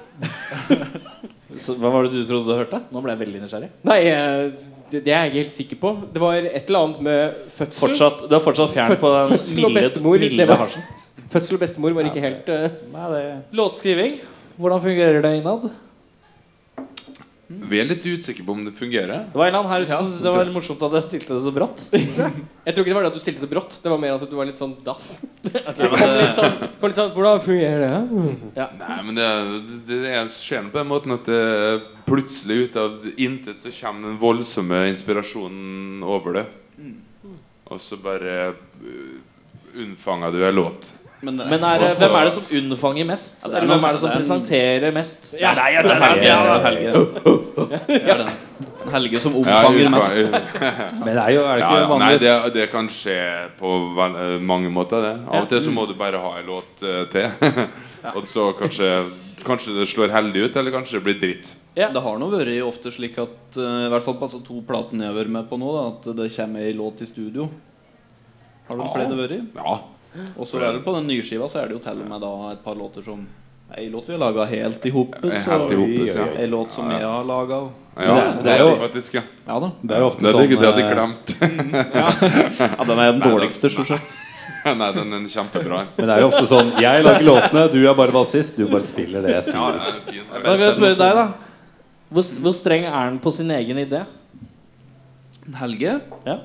Så, hva var det du trodde du hørte? Nå ble jeg veldig nysgjerrig.
Nei, eh, det, det er jeg ikke helt sikker på. Det var et eller annet med fødsel.
Fortsatt, du er fortsatt fjern på den
Fødsel og
milde,
bestemor, det
milde
var-
hasjen.
Fødsel og bestemor var ikke helt eh,
Låtskriving. Hvordan fungerer det innad?
Vi er litt usikre på om det fungerer.
Det var en eller annen her ute som syntes det var litt morsomt at jeg stilte det så brått.
Jeg tror ikke det var det at du stilte det brått. Det var mer at du var litt sånn daff.
Ja, men
Kom
eh,
det-
litt sånn, kom litt sånn Hvordan fungerer det? her?
Nei, men det, det det er skjer på den måten at det plutselig ut av intet så kommer den voldsomme inspirasjonen over det. Og så bare øh, unnfanger du en låt.
Men, eh,
Men er, det-
Også-
hvem er det som unnfanger mest?
det er
Eller
noen-
hvem er det som
det er en-
presenterer mest?
ja, nei, det er Helge. Ja, det er Helge. Ja, det er en Helge som
Ja,
omfanger
unnfang-
mest.
Men det er jo er det
Ja,
ikke
ja. Nei,
vanlig
det, det kan skje på vel, øh, mange måter, det. Av og til så må du bare ha en låt øh,
*laughs*
til. Og så kanskje, kanskje det slår heldig ut, eller kanskje det blir dritt.
Det har nå vært ofte slik at eh, I hvert fall på altså, to platene jeg har vært med på nå, da, at det kommer ei låt i studio. Har det
Ja.
pleid å være?
Ja.
Og så er det på den nye skiva så er det jo til og med da et par låter som Ei låt vi har laga helt i hoppes.
Helt i hoppes, ja.
Ei låt som jeg har laga.
Ja,
det- det
det
er
er
jo-
faktisk, ja.
Ja da.
Det er jo ofte
Det hadde
sånn
jeg- det hadde
eh,
jeg glemt.
Ja, den er den dårligste, stort sett.
*laughs* Nei, den er kjempebra.
Men det er jo ofte sånn Jeg lager låtene, du er bare bassist, du bare spiller det jeg sier.
Ja, den er fin.
Da vil jeg spørre deg, da. Hvor, hvor streng er han på sin egen idé?
Helge
Ja.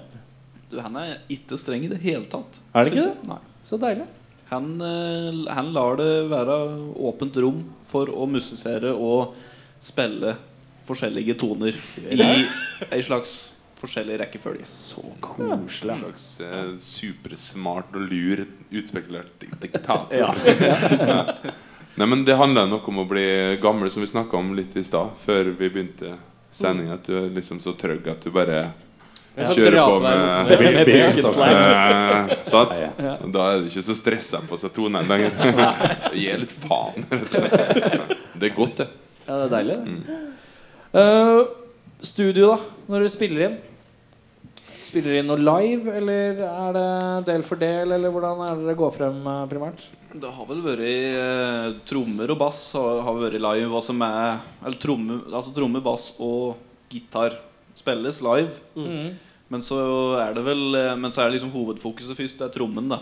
du, han er ikke streng i det hele tatt.
Er det ikke
synes jeg. Nei.
Så deilig.
Han, eh, han lar det være åpent rom for å musisere og spille forskjellige toner i ei slags forskjellig rekkefølge. Så
En slags eh, supersmart og lur, utspekulert diktator. *laughs* Nei, men Det handler nok om å bli gammel, som vi snakka om litt i stad, før vi begynte sendinga. At du er liksom så trygg at du bare eh, kjører på med
Be- be-
Bacon slaps.
Eh, sant?
Ja,
Og Da er du ikke så stressa på seg tonen lenger. *laughs* Gi litt faen, rett og slett. Det er godt, det.
Ja, det er deilig. Eh, studio, da? Når du spiller inn? Spiller du inn noe live, eller er det del for del, eller hvordan er det dere går frem eh, primært?
Det har vel vært eh, trommer og bass har, har vært live. Hva som er Eller tromme, altså tromme, bass og gitar spilles live.
Mm.
Men så er det vel eh, Men så er det liksom hovedfokuset først. Det er trommen, da.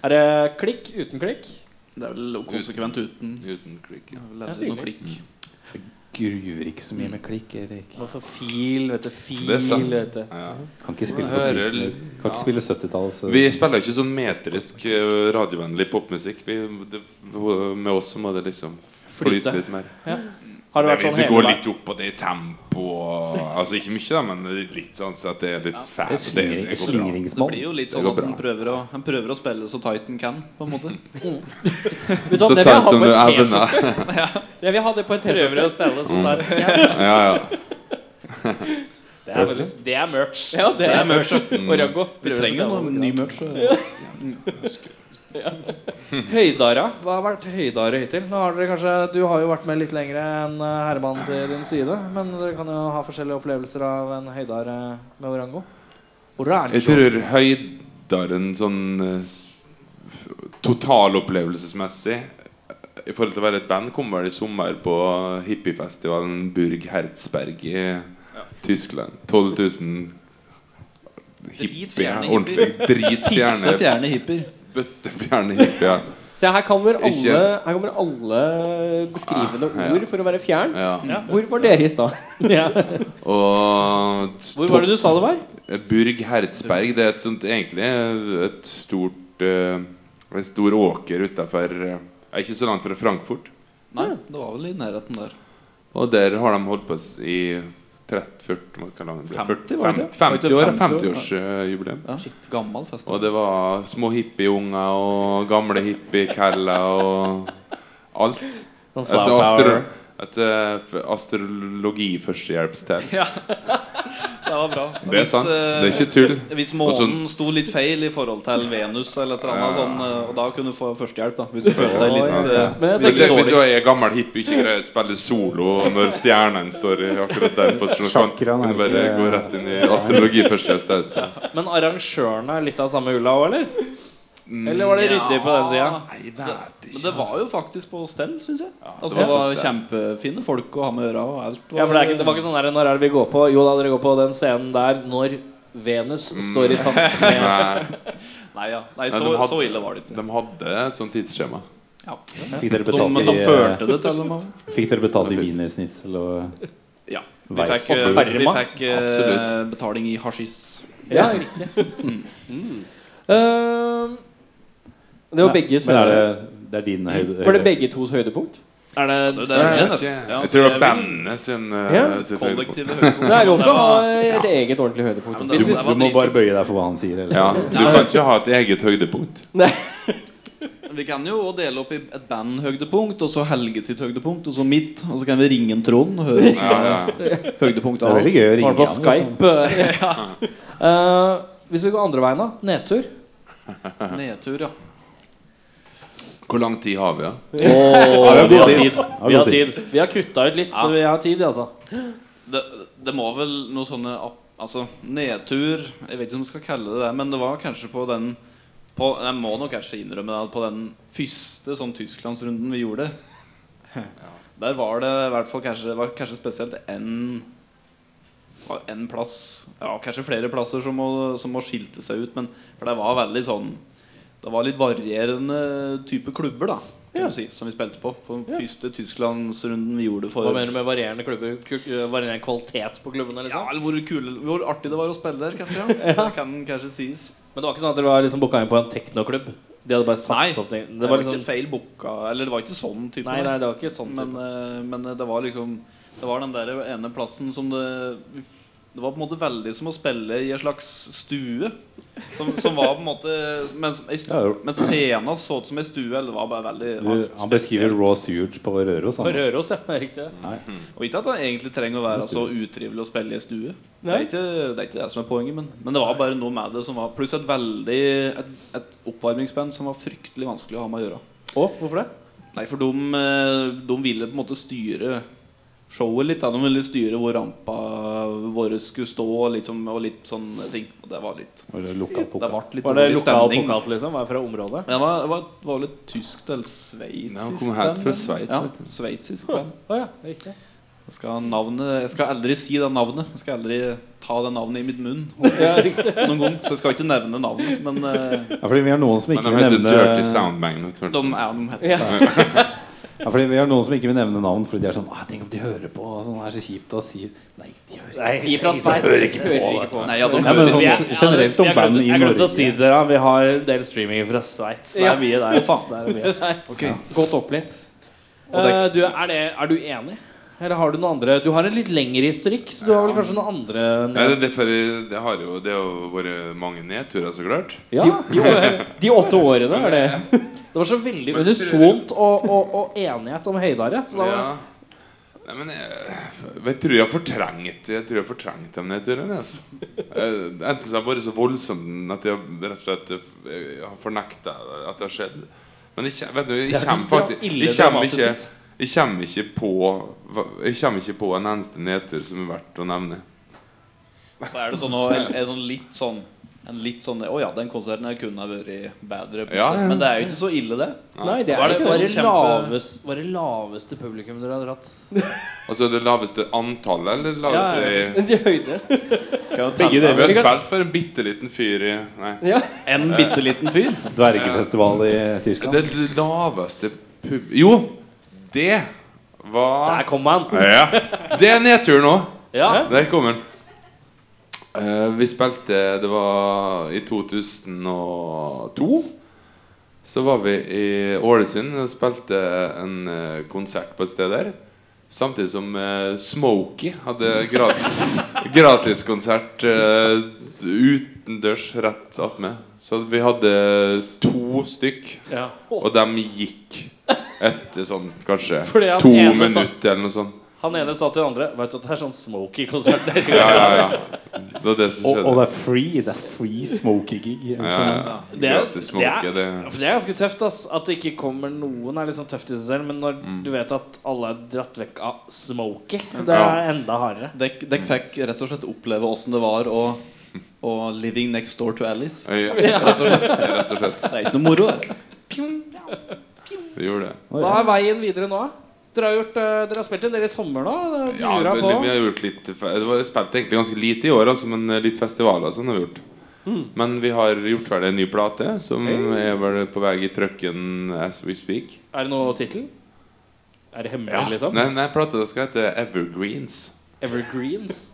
Er det klikk uten klikk?
Det er vel konsekvent uten.
Uten klikk. Ja.
Jeg vil lese noen klikk.
Gruver ikke så mye med klikk, Erik.
Noe for fil, vet du. Fil,
Det er sant.
vet du.
Ja.
Kan ikke spille, på
Hører,
klikk.
Kan ikke spille 70-talls
Vi spiller jo ikke sånn metrisk eh, radiovennlig popmusikk. Vi, det, med oss så må det liksom flyte
Flyte.
litt mer.
Har det vært
Jeg
sånn
vet, det
hele
går
veien?
litt opp, og det er tempo og, Altså ikke mye, da, men litt sånn så at det er litt
Det er
fælt.
slingring-
Det, det går bra.
Det
slingringsmål.
blir jo litt
Det
sånn
går
at han
bra.
prøver, å, han prøver å spille så tight han kan, på en
*laughs*
måte.
Vet du hva,
Så
Sånn,
sånn
det vil jeg ha på
tight som du
en T-skjorte.
evner.
Jeg vil ha det på en T-skjorte. sånn
Mm. Ja, ja.
Det er faktisk- Det er merch. Ja, det er merch. Orango.
Mm. Vi trenger jo noe ny merch.
*laughs* Høydara. Hva har vært høydare hittil? Nå har dere kanskje, Du har jo vært med litt lenger enn eh, Herman til din side. Men dere kan jo ha forskjellige opplevelser av en høydare med Orango.
Jeg
Orango.
tror høydaren sånn eh, s- totalopplevelsesmessig eh, i forhold til å være et band, kom vel i sommer på hippiefestivalen Burg Herzberg i Tyskland. 12 000 hippier.
Dritfjerne
Ordentlig
Pisse
dritfjerne,
fjerne hipper.
bøttefjerne hippier.
Se, her kommer alle,
Ikke-
her kommer alle beskrivende
Ah, ja.
ord for å være fjern.
Ja.
Hvor var dere i stad? *laughs*
Og
Hvor var det du sa det var?
Burg Herzberg, det er et sånt, egentlig et stort eh, En stor åker utafor Ikke så langt fra Frankfurt.
Nei, det var vel i nærheten der.
Og der har de holdt på s- i 30, 40, hva kan det bli?
50,
40,
var det
50,
ikke? Var det ikke 50 år?
50 år, 50-årsjubileum.
Ja. Shit, gammel fest.
Og det var små hippieunger og gamle hippiekeller og alt. Et, astro, et eh, f- astrologi-førstehjelpstelt.
Det var bra.
Det er sant. Det er
eh,
ikke tull.
Hvis
Og så-
månen sto litt feil i forhold til Venus, eller et eller annet
Ja.
sånn, eh, og da kunne du få førstehjelp, da. Hvis du følte deg litt eh,
Men jeg
Hvis
tenker,
jeg, hvis jeg er gammel hipp og ikke greier å spille solo når stjernen står i akkurat den posisjonen, kan-
Chakraen er
kan du bare
ikke-
gå rett inn i astrologi først. i stedet.
men arrangørene er litt av samme ulla òg, eller?
Mm,
Eller var det ryddig på den sida?
Nei, jeg vet
Men det var jo faktisk på stell, syns jeg. altså,
det
det
var på
var
stell.
kjempefine folk å ha med å gjøre. Og alt
Ja, for det, er ikke, det var ikke sånn der, Når er det vi går på? Jo da, dere går på den scenen der når Venus
Mm.
står i takt med
Nei,
sånn-
Nei, ja. Nei
Nei,
så,
de hadde-
så ille var det ikke.
de hadde et sånt tidsskjema.
Ja.
Fikk dere
De,
Sånn,
betalt
de,
i, eh,
førte det til og med.
fikk dere betalt i wienersnitsel og
Ja. Vi
Veis.
fikk, eh, vi fikk eh,
Absolutt.
betaling i hasjis.
Ja, riktig. Eh,
Ehm, Det var
Nei,
begge
Men er det,
høyde.
det er din høyde?
Var det begge tos høydepunkt?
er det
Det er
Jeg, vet
nesten-
ikke.
ja, altså,
jeg tror det var
er
bandet sin,
Ja.
eh, sitt høydepunkt.
Kollektive
Det er lov til å ha
høydepunkt.
et eget ordentlig høydepunkt.
men
Du, må-
det- det var
du må
dritkult.
bare bøye deg for hva han sier. Eller?
Ja, du kan ikke ha et eget høydepunkt.
Vi kan jo også dele opp i et bandhøydepunkt, og så Helge sitt høydepunkt, og så mitt. Og så kan vi ringe en Trond og høre
Ja, ja.
høydepunktet
Det er veldig
hans.
gøy å
Var
ringe
det på
han, liksom.
Skype? liksom. Ja. Eh, hvis vi går andre veien, da. Nedtur.
Nedtur, ja.
Hvor lang tid har vi, da?
Ja,
vi har
god
tid.
Ja,
Vi
god
har tid. Vi har kutta ut litt, så vi har tid, altså.
Det, det må vel noe sånne opp- Altså, nedtur Jeg vet ikke om jeg skal kalle det det, men det var kanskje på den på, Jeg må nok kanskje innrømme det, at på den første sånn Tysklandsrunden vi gjorde, Der var det i hvert fall kanskje, det var kanskje spesielt en, var en plass Ja, kanskje flere plasser som må, som må skilte seg ut, men for det var veldig sånn Det var litt varierende type klubber, da. Kan du si, som vi spilte på. På den første Tysklandsrunden vi gjorde for
Hva mener du med varierende klubber? Ku- Varierende kvalitet på klubbene?
Ja,
liksom
eller hvor, kule, hvor artig det var å spille der, kanskje. Ja. Det kan kanskje sies.
Men det var ikke sånn at dere var liksom booka inn på en teknoklubb? De hadde bare satt
Nei,
opp ting?
Det
Det
var
var liksom,
ikke feil booka, eller det var ikke sånn type.
nei, nei, det var ikke sånn
men,
type.
eh, men eh, det var liksom Det var den der ene plassen som det Det var på en måte veldig som å spille i en slags stue. Som, som var på en måte Men, som- ei stu-
Ja, jo.
men scena så ut som ei stue. Eller det var bare veldig det
Du,
var
han beskriver
spesielt.
raw sewage på Røros.
På
Han.
Røros, ja. Riktig.
Og ikke at det egentlig trenger å være så utrivelig å spille i ei stue. Det er,
Nei.
ikke, det er ikke det som er poenget, men, men det var bare noe med det som var Pluss et veldig et, et oppvarmingsspenn som var fryktelig vanskelig å ha med å gjøre.
Og hvorfor det?
Nei, for de, eh, de ville på en måte styre showet litt. Da. De ville styre hvor rampa våre skulle stå, og litt, sånn- og litt sånne ting. Og det var litt
Og det er lokal
Det
pokal.
ble litt
Var det
dårlig
lokal
stemning. da.
pokal, liksom? Var det fra området?
Ja, Det var, det var, det var litt tyskt eller sveitsisk.
Nei, han kom helt
band,
fra
eller?
Sveits,
Ja,
vet du.
sveitsisk band.
Å ja, riktig.
Jeg skal, ha navnet, jeg skal aldri si det navnet. Jeg skal aldri ta det navnet i mitt
*laughs*
munn. Noen gang, så jeg skal ikke nevne navnet. Men eh,
Ja, fordi vi har noen som
Men
ikke
de
vil
heter Dirty
nevne
Sound Magnet. vel?
de er de heter.
Ja, fordi vi har noen som ikke vil nevne navn fordi de er sånn «Ah, Tenk om de hører på. og Sånn, det er så kjipt å si Nei, de hører
Nei, ifra Sveits.
Nei, ja, de
Ja, men
hører-
sånn generelt om band i
Jeg glemte å si
Norge.
det til dere, vi har en del streaming fra Sveits. Det
Ja.
er mye der. ass. Det er mye. *laughs*
Godt opplært.
Eh, du, er, det, er du enig? Eller har du noen andre Du har en litt lengre historikk, så du har vel kanskje noen andre
Nei, det er derfor jeg- det har jo det har vært mange nedturer, så klart.
Ja. De, de åtte årene er det.
Det var så veldig unisont og, og, og enighet om høydare. Så da var
Ja. Nei, men jeg, jeg tror jeg har fortrengt Jeg tror jeg har fortrengt dem nedturene. Altså. Eh, Enten så har jeg vært så voldsom at jeg rett og slett jeg har fornekta at det har skjedd. Men jeg, kje- vet du, jeg kommer faktisk jeg kommer ikke, jeg kommer ikke på Jeg kommer ikke på en eneste nedtur som er verdt å nevne.
Så er det sånn, og, en, en sånn litt sånn en litt sånn, Å ja, den konserten her kunne ha vært bedre. på en
Ja,
måte».
ja.
Men det er jo ikke så ille, det.
Nei, det
Hva
er
er det,
ikke
hva
det.
er det,
Kjempe-
laveste, hva er det laveste publikum dere har dratt?
Altså det laveste antallet, eller det laveste
De høyde.
Vi
deler.
har spilt for en bitte liten fyr i Nei.
Ja.
En bitte liten fyr.
Dvergefestival i Tyskland.
Det laveste pub... Jo, det var
Der kom han!
ja. Det er nedtur nå.
Ja.
Der kommer den. Eh, vi spilte Det var i 2002. Så var vi i Ålesund og spilte en eh, konsert på et sted der. Samtidig som eh, Smokey hadde gratis gratiskonsert eh, utendørs rett attmed. Så vi hadde to stykk,
Ja.
og de gikk etter sånn kanskje
Fordi han
to
ene sa-
minutter eller noe sånt.
Han ene sa til den andre Vet du at det er sånn *laughs* smoky-konsert der?
Ja, ja, ja. Det var det som
Og,
skjedde.
og det er free. Det er free smoky-gig.
ja, ja.
Det er-
Gratis smoke, det
Ja, For det er ganske tøft ass At det ikke kommer noen er liksom tøft i seg selv Men når du vet at alle er dratt vekk av Smokey Det er
Mm. Ja.
enda hardere
Dere dere fikk rett og slett oppleve åssen det var å, å living next door to Alice.
Ja, Rett og slett. Rett og slett.
Det er ikke noe moro. det.
Vi gjorde det.
Hva er veien videre nå? Dere har, gjort, eh, dere har spilt en del i sommer nå Dere
Ja,
lurer
men
på
vi har gjort litt fe- Det var spilt egentlig ganske lite i år, altså, men eh, litt festivaler og sånn har vi gjort.
Mm.
Men vi har gjort ferdig en ny plate, som er vel på vei i trøkken as we speak.
Er det noe titel? Er det hemmelig liksom?
Nei, nei plata skal hete Evergreens.
Evergreens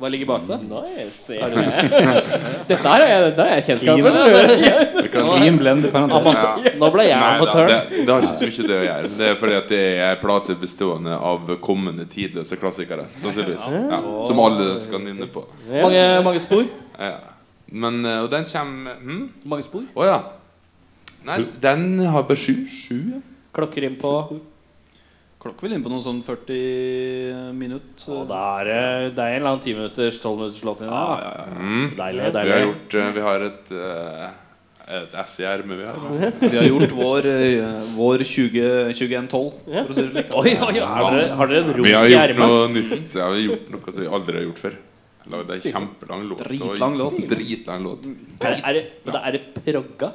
Hva ligger bak det?
Nice. Er det det? Dette her er, dette er kjennskap med.
Vi kan-
Team blend i parentes.
Ja.
*laughs* Nå ble jeg
Nei
på
da,
turn
det, det har ikke så mye det å gjøre. Det er fordi at det er en plate bestående av kommende tidløse klassikere. Sannsynligvis. Ja, som alle skal nynne på.
mange, mange spor
Ja. Men, eh, og den kommer hm?
Mange spor
Å ja. Nei, den har bare sju. Sju?
Klokker inn på
Klokka vil inn på noen sånn 40 minutter.
Og da er det Det er en eller annen 10 minutters 12 minutters låt inn her da.
Mm.
Deilig,
Vi har
deilig
gjort eh, Vi har et eh, et ess i ermet, vi har.
Vi har gjort vår, eh, vår 20 2112, for å si det slik.
Oi, oi, oi, har dere, har dere en rot
Vi
i
har gjort
ermet?
noe nytt. Ja, vi har gjort noe som vi aldri har gjort før. Lagd ei kjempelang låt. Mm. og-
Dritlang låt.
Dritlang låt.
Er, er, det- men da er det progga?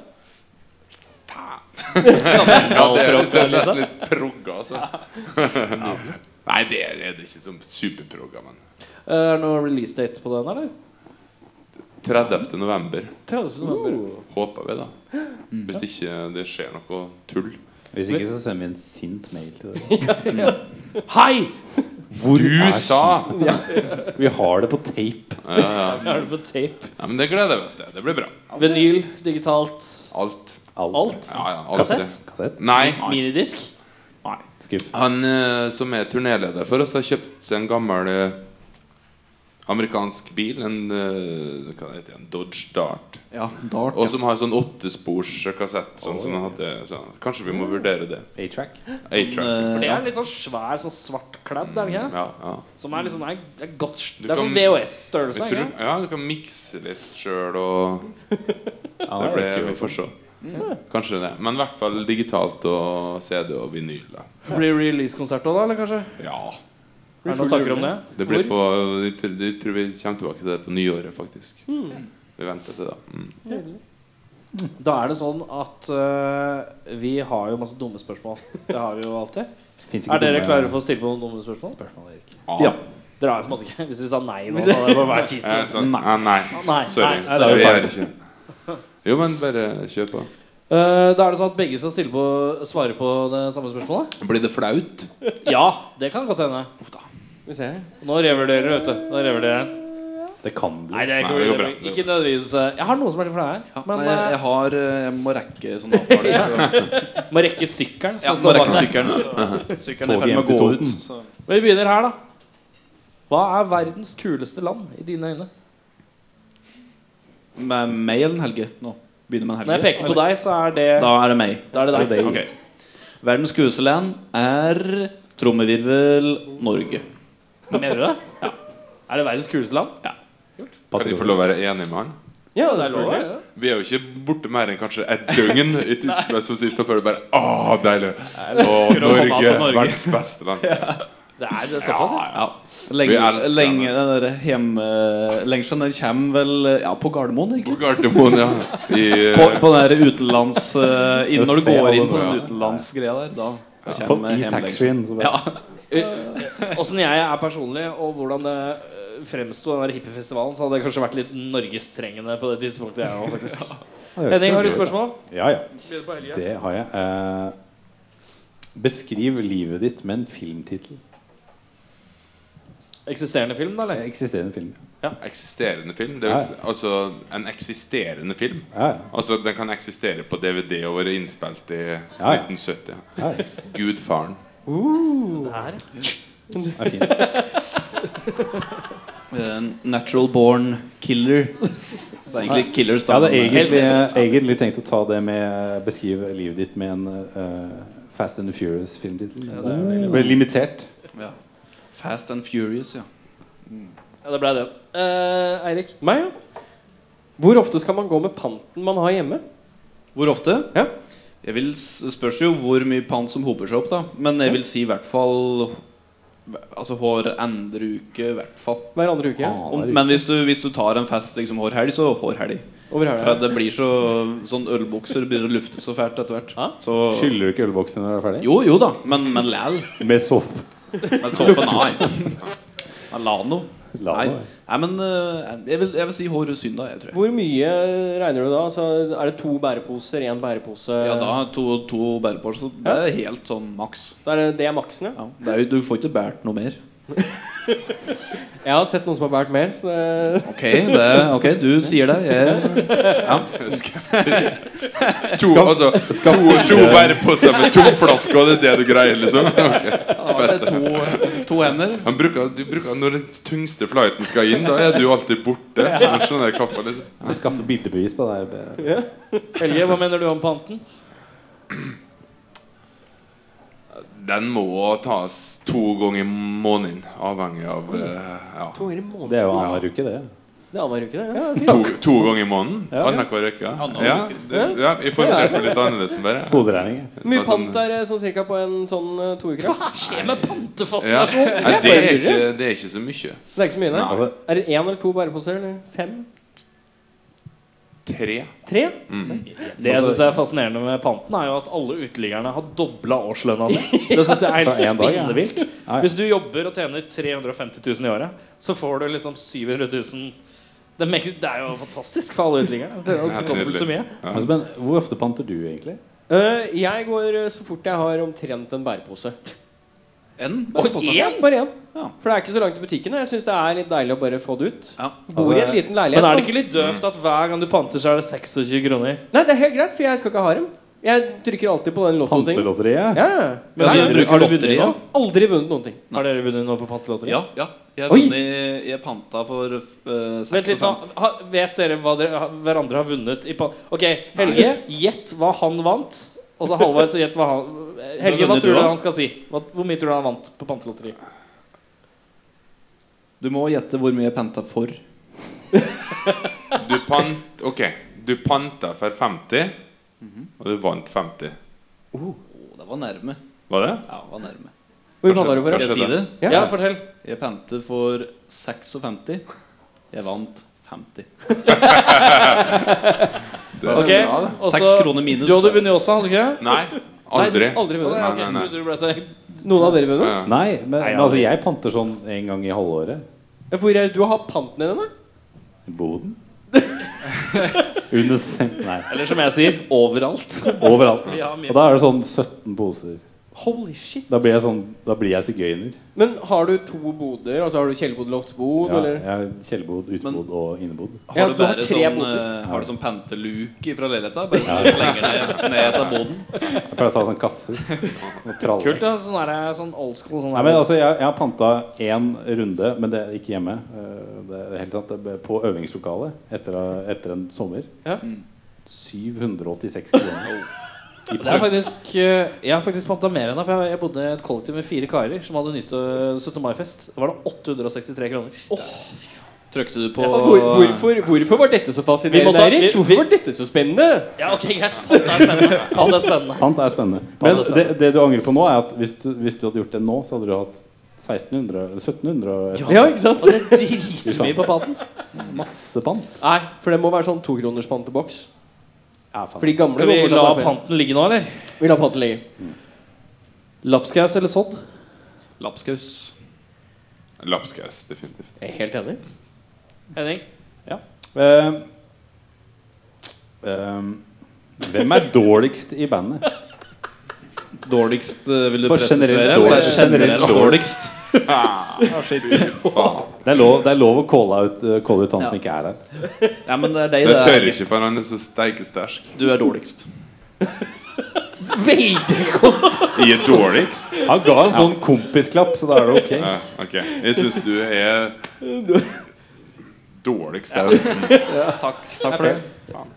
Ja, det er det er nesten litt progga, altså. *laughs* Nei, det er det er ikke sånn superprogga, men
Eh, Er det noe release date på den, eller?
30. november
30.
Uh.
november.
håper vi, da. Hvis ikke det skjer noe tull.
Hvis ikke, så sender vi en sint mail til
*laughs*
dere.
Hei!
du sa!
Vi har det på tape.
Er det på tape?
Ja, men det gleder vi oss til. Det blir bra.
Vinyl, digitalt,
Alt.
alt?
Ja, ja, alt
Kassett?
det.
Kassett.
Nei.
Minidisk?
Skuff.
Han eh, som er turnéleder for oss, har kjøpt seg en gammel eh, amerikansk bil. En, eh, hva heter det, en Dodge Dart.
Ja, dart.
Og som har sånn åttespors kassett. Sånn som han hadde så Kanskje vi må vurdere det.
A-track.
A-track.
For det er litt sånn svær, sånn svart kledd, er det ikke?
Ja, ja.
Som er litt sånn, er, er godt
Du
Det er
kan-
sånn VHS-størrelse,
Jeg
ikke
tror, ja, du kan mikse litt sjøl og
Ja,
Det
det
ble
er
vi
kult.
får se. Kanskje det. Men i hvert fall digitalt og CD og vinyl. Da.
det? Blir release-konsert òg, da, eller kanskje?
Ja.
Er det noen tanker om det?
Det blir på Jeg tror jeg tror vi kommer tilbake til det på nyåret, faktisk.
Hmm.
Vi venter til da.
Hmm.
Mm.
Da er det sånn at eh, vi har jo masse dumme spørsmål. Det har vi jo
*laughs*
alltid.
Finnes ikke
Er dere
dumme-
klare for å stille på noen dumme spørsmål?
Ah.
Ja.
Dere har jo på en måte ikke Hvis dere sa nei nå, så hadde det bare vært kjipt.
Eh, sant. Ah, nei.
Nei,
Sorry.
nei,
Så
det er jo
vi
sant.
er ikke Jo, men bare kjør på.
Eh, da er det sånn at begge skal stille på svare på det samme spørsmålet?
Blir det flaut?
Ja, det kan godt hende.
Vi ser.
Nå revurderer du, vet du. Nå revurderer jeg.
Det kan bli.
Nei, det er
Nei, det
ikke,
går bra.
ikke nødvendigvis eh, Jeg har noen som er litt flau her.
Ja,
men
nei, jeg, jeg har eh, Jeg må rekke sånn avtale. så-
eh, må rekke sykkelen.
Ja,
som
må
står bak
rekke
meg.
sykkelen. så Sykkelen er i
Toget
ferd med
hjem til
å gå ut.
Toten.
Så.
Men vi begynner her, da. Hva er verdens kuleste land i dine øyne?
Med meg eller en Helge? Nå begynner med en Helge.
Når jeg peker på deg, så er det
Da er det meg.
Da er det deg.
Ok. Verdens kuseland er trommevirvel Norge.
Mener du det? Ja. Er det verdens kuleste land?
Kan vi få lov å være enig med han?
Ja,
Det er lov,
selvfølgelig.
ja.
Vi er jo ikke borte mer enn kanskje et døgn i Tyskland som sist, og føler bare Åh, deilig! Og
å komme tilbake
Norge,
til Norge.
verdens beste land.
Det er det såpass, ja.
Ja.
Vi
Lenge,
elsker
lenge den der hjemme Lenge siden den kommer vel eh, Ja, på Gardermoen,
På
egentlig.
Gardermoen, ja. I,
På, på den der utenlands eh, inn, Når du
Se alle
går inn på
bra.
den utenlandsgreia der, da, da
På, I
kommer hjem lenger.
taxfree-en. så bare-
Ja.
Eh, Åssen jeg er personlig, og hvordan det eh, fremsto den der hippiefestivalen, så hadde jeg kanskje vært litt norgestrengende på det tidspunktet jeg var, faktisk.
*laughs* Ja, det
Henning,
er ikke så
har du
gøy.
spørsmål?
Ja, ja. Det har jeg. Eh, beskriv livet ditt med en filmtittel.
Eksisterende film, da, eller?
Eh, Eksisterende film.
eh, Eksisterende film? Det vil, si- altså en eksisterende film?
Ja, ja.
Altså Den kan eksistere på DVD og være innspilt i
ja.
1970.
Ja, ja.
Gudfaren. *laughs*
Det her?
Det er fint.
Eh, Natural born killer. Så egentlig killers,
Jeg
da.
hadde
men-
egentlig, egentlig tenkt å ta det med Beskrive livet ditt med en eh, Fast and the Furious-filmtittel. men det ble limitert.
ja. Fast and furious, ja.
Ja, det ble den. Eh, Eirik?
Meg, ja. Hvor ofte skal man gå med panten man har hjemme?
Hvor ofte?
Ja.
Jeg vil, s- spørs jo hvor mye pant som hoper seg opp, da. Men jeg vil si i hvert fall Altså hver andre uke, i hvert fall.
Hver andre uke?
Ah,
ja.
Om, men hvis du, hvis du tar en fest liksom hver helg, så hver helg.
Over
For at
helga?
det blir så Sånn ølbukser begynner å lufte så fælt etter hvert. Så
Skyller du ikke ølboksen når du er ferdig?
Jo, jo da, men, men læl.
Med sopp.
Men såpe, nei. Men Lano.
La
Nei,
nå.
nei men eh, jeg vil, jeg vil si hver søndag, jeg, tror jeg.
Hvor mye regner du da? Altså, er det to bæreposer, én bærepose?
Ja, da to, to bærepåser, så det er helt sånn maks.
Da er det, det er maksen, ja.
Ja, det er jo, du får ikke båret noe mer.
Jeg har sett noen som har båret mer, så det
Ok, det, ok, du sier det. Jeg,
Skeptisk. To, altså, to, to bæreposer med to flasker, og det er det du greier, liksom? Ok.
ja, det er to, to hender.
Han bruker, du bruker Når den tyngste flighten skal inn, da er du alltid borte. Jeg skjønner jeg kaffe, liksom.
Vi skaffer bildebevis på det. her.
Helge, hva mener du om panten?
Den må tas to ganger i måneden, avhengig av eh, ja.
To ganger i måneden.
Det er jo annenhver uke, det.
Det er annenhver uke, det. Ja,
To, to ganger i måneden? Annenhver uke? Ja,
Annenhver
ja,
uke.
det, ja jeg formulerte meg litt annerledes enn bare.
Hoderegning.
Hvor mye
Det er sånn-
pant er det sånn cirka på en sånn eh, to uker? da?
Skjer med
Ja.
pantefascinasjon?
Nei, det, er ikke, det er ikke så mye.
Det er ikke så mye, nei?
Altså,
Er det én eller to bæreposer? Eller fem?
Tre.
Tre? Det jeg syns er fascinerende med Panten, er jo at alle uteliggerne har dobla årslønna si. Det synes jeg er helt
*laughs* Fra en dag, ja.
spinnevilt.
ja.
Hvis du jobber og tjener 350 000 i året, så får du liksom 700 000 det er meg- det er jo fantastisk for alle uteliggerne. Det er
Ja,
jo Dobbelt så mye.
Altså, men hvor ofte panter du, egentlig?
Eh, jeg går eh, så fort jeg har omtrent en bærepose.
En
Og
bærepose.
én!
Bare én.
Ja.
For det er ikke så langt til butikken. og Jeg syns det er litt deilig å bare få det ut.
Ja.
Bor i en liten leilighet.
Men er det
da.
ikke litt døvt at hver gang du panter, så er det 26 kroner?
Nei, det er helt greit, for jeg skal ikke ha dem. Jeg trykker alltid på den lottotingen.
Pantelotteriet?
Ja, ja.
Men har du-
du bruker
har du vunnet
lotteri,
nå?
da?
Aldri vunnet noen
Mm.
ting.
Har dere vunnet noe på pantelotteriet?
Ja, ja. Jeg,
Oi!
vunnet, jeg panta for uh,
Vent litt nå.
65.
Ha, vet dere hva dere, ha- hverandre har vunnet i pan... Ok, Helge, gjett hva han vant. Og så Halvard, så gjett hva han Helge, hva
vunnet du
tror du
da?
han skal si? Hva, hvor mye tror du han vant på pantelotteriet?
Du må gjette hvor mye jeg panta for.
Du pant Ok, du panta for 50,
Mhm.
og du vant 50.
Å, det var nærme.
Var det?
*laughs*
Ja, det var nærme.
Hvor panter du for?
Kanskje-
Skal jeg si det?
Ja.
Ja, fortell.
Jeg pente for 56. Jeg vant 50.
det
Ok, og
Seks
så-
kroner minus.
Du hadde vunnet også, hadde du ikke det?
Nei, aldri.
Nei, aldri vunnet.
Nei,
Ok,
nei, nei.
trodde Du ble så...
Noen av dere vunnet?
Ja.
Nei, men,
Nei,
men altså, jeg panter sånn en gang i halvåret.
Hvor er du har panten din, da?
Boden. *laughs* Under sen... Nei,
Eller som jeg sier, overalt.
overalt.
Vi har mye-
Og da er det sånn 17 poser.
Holy shit.
Da blir jeg, sånn, da blir jeg sigøyner.
Men har du to boder? Altså Har du kjellerbod, loftsbod?
Ja,
eller?
jeg har kjellerbod, utebod og innebod.
Har
Ja,
du
så du har
bare
tre
sånn,
boder.
eh, har du sånn penteluke fra leiligheta? Bare sånn, slenger ned, ned etter boden?
Jeg pleier å ta sånn
*laughs*
kasser. Og tralle.
Kult, ja. Sånn, der, sånn old school. Sånn
Nei, men altså, jeg, jeg har panta én runde, men det er ikke hjemme. Eh, Det er helt sant, det ble på øvingslokalet etter, etter en sommer.
Ja.
786 kroner. I
Det er
pant.
faktisk, eh, jeg har faktisk panta mer enn deg. For jeg, jeg bodde i et kollektiv med fire karer som hadde nytt eh, 17. mai-fest. Da var det 863 kroner.
Trykte du på
Og Hvor, hvorfor, hvorfor var dette
Vi
så
må
fascinerende,
ta-
Eirik?
vi-
Hvorfor var dette så spennende?
Ja, ok, greit. Pant er spennende. Pant er spennende.
Pant er spennende.
Pant
Men
er
det,
spennende.
det du angrer på nå, er at hvis du, hvis du hadde gjort det nå, så hadde du hatt 1600 eller 1700 og et-
Ja, ikke sant?
Dritmye på panten.
masse pant.
Nei, for det må være sånn tokroners panteboks.
Ja, faen.
For de gamle
Skal vi
må fortsatt
la
være feil.
panten ligge nå, eller?
Vi lar panten ligge.
Lapskaus eller sodd?
lapskaus?
Lapskaus, definitivt.
Jeg er helt enig.
Henning?
Ehm, ehm, hvem er dårligst i bandet?
Dårligst eh, vil du
Bare
presisere?
generelt
eller
dårlig. Generelt
dårligst.
Det er lov, det er lov å calle ut, eh, calle ut han som ikke er her.
Ja, men det er deg
Det
det
tør
er.
ikke, for han er så steike sterk.
Du er dårligst.
Veldig!
Jeg er dårligst.
Han ga en sånn kompisklapp, så da er det ok.
Ja, ok. Jeg syns du er dårligst. Der.
Takk, takk for det.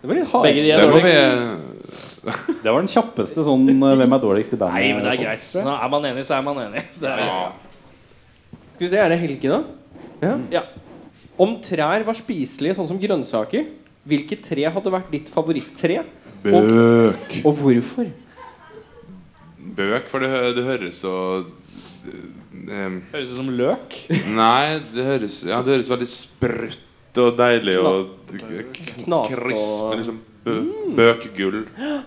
Det var litt hard.
Begge de er
Det må vi
dårligst.
Det var den kjappeste sånn eh, Hvem er dårligst i bandet?
Nei, men det er greit. Nå er man enig, så er man enig. Det er,
ja.
Skal vi se, er det Helge, da? Ja.
Ja.
Om trær var spiselige, sånn som grønnsaker, hvilket tre hadde vært ditt favorittre?
Bøk.
Og hvorfor?
Bøk, for det, hø- det høres så eh,
høres ut som løk.
Nei, det høres, ja, det høres veldig sprøtt og deilig og
Knast og-
krisp. Liksom bø, bøkgull.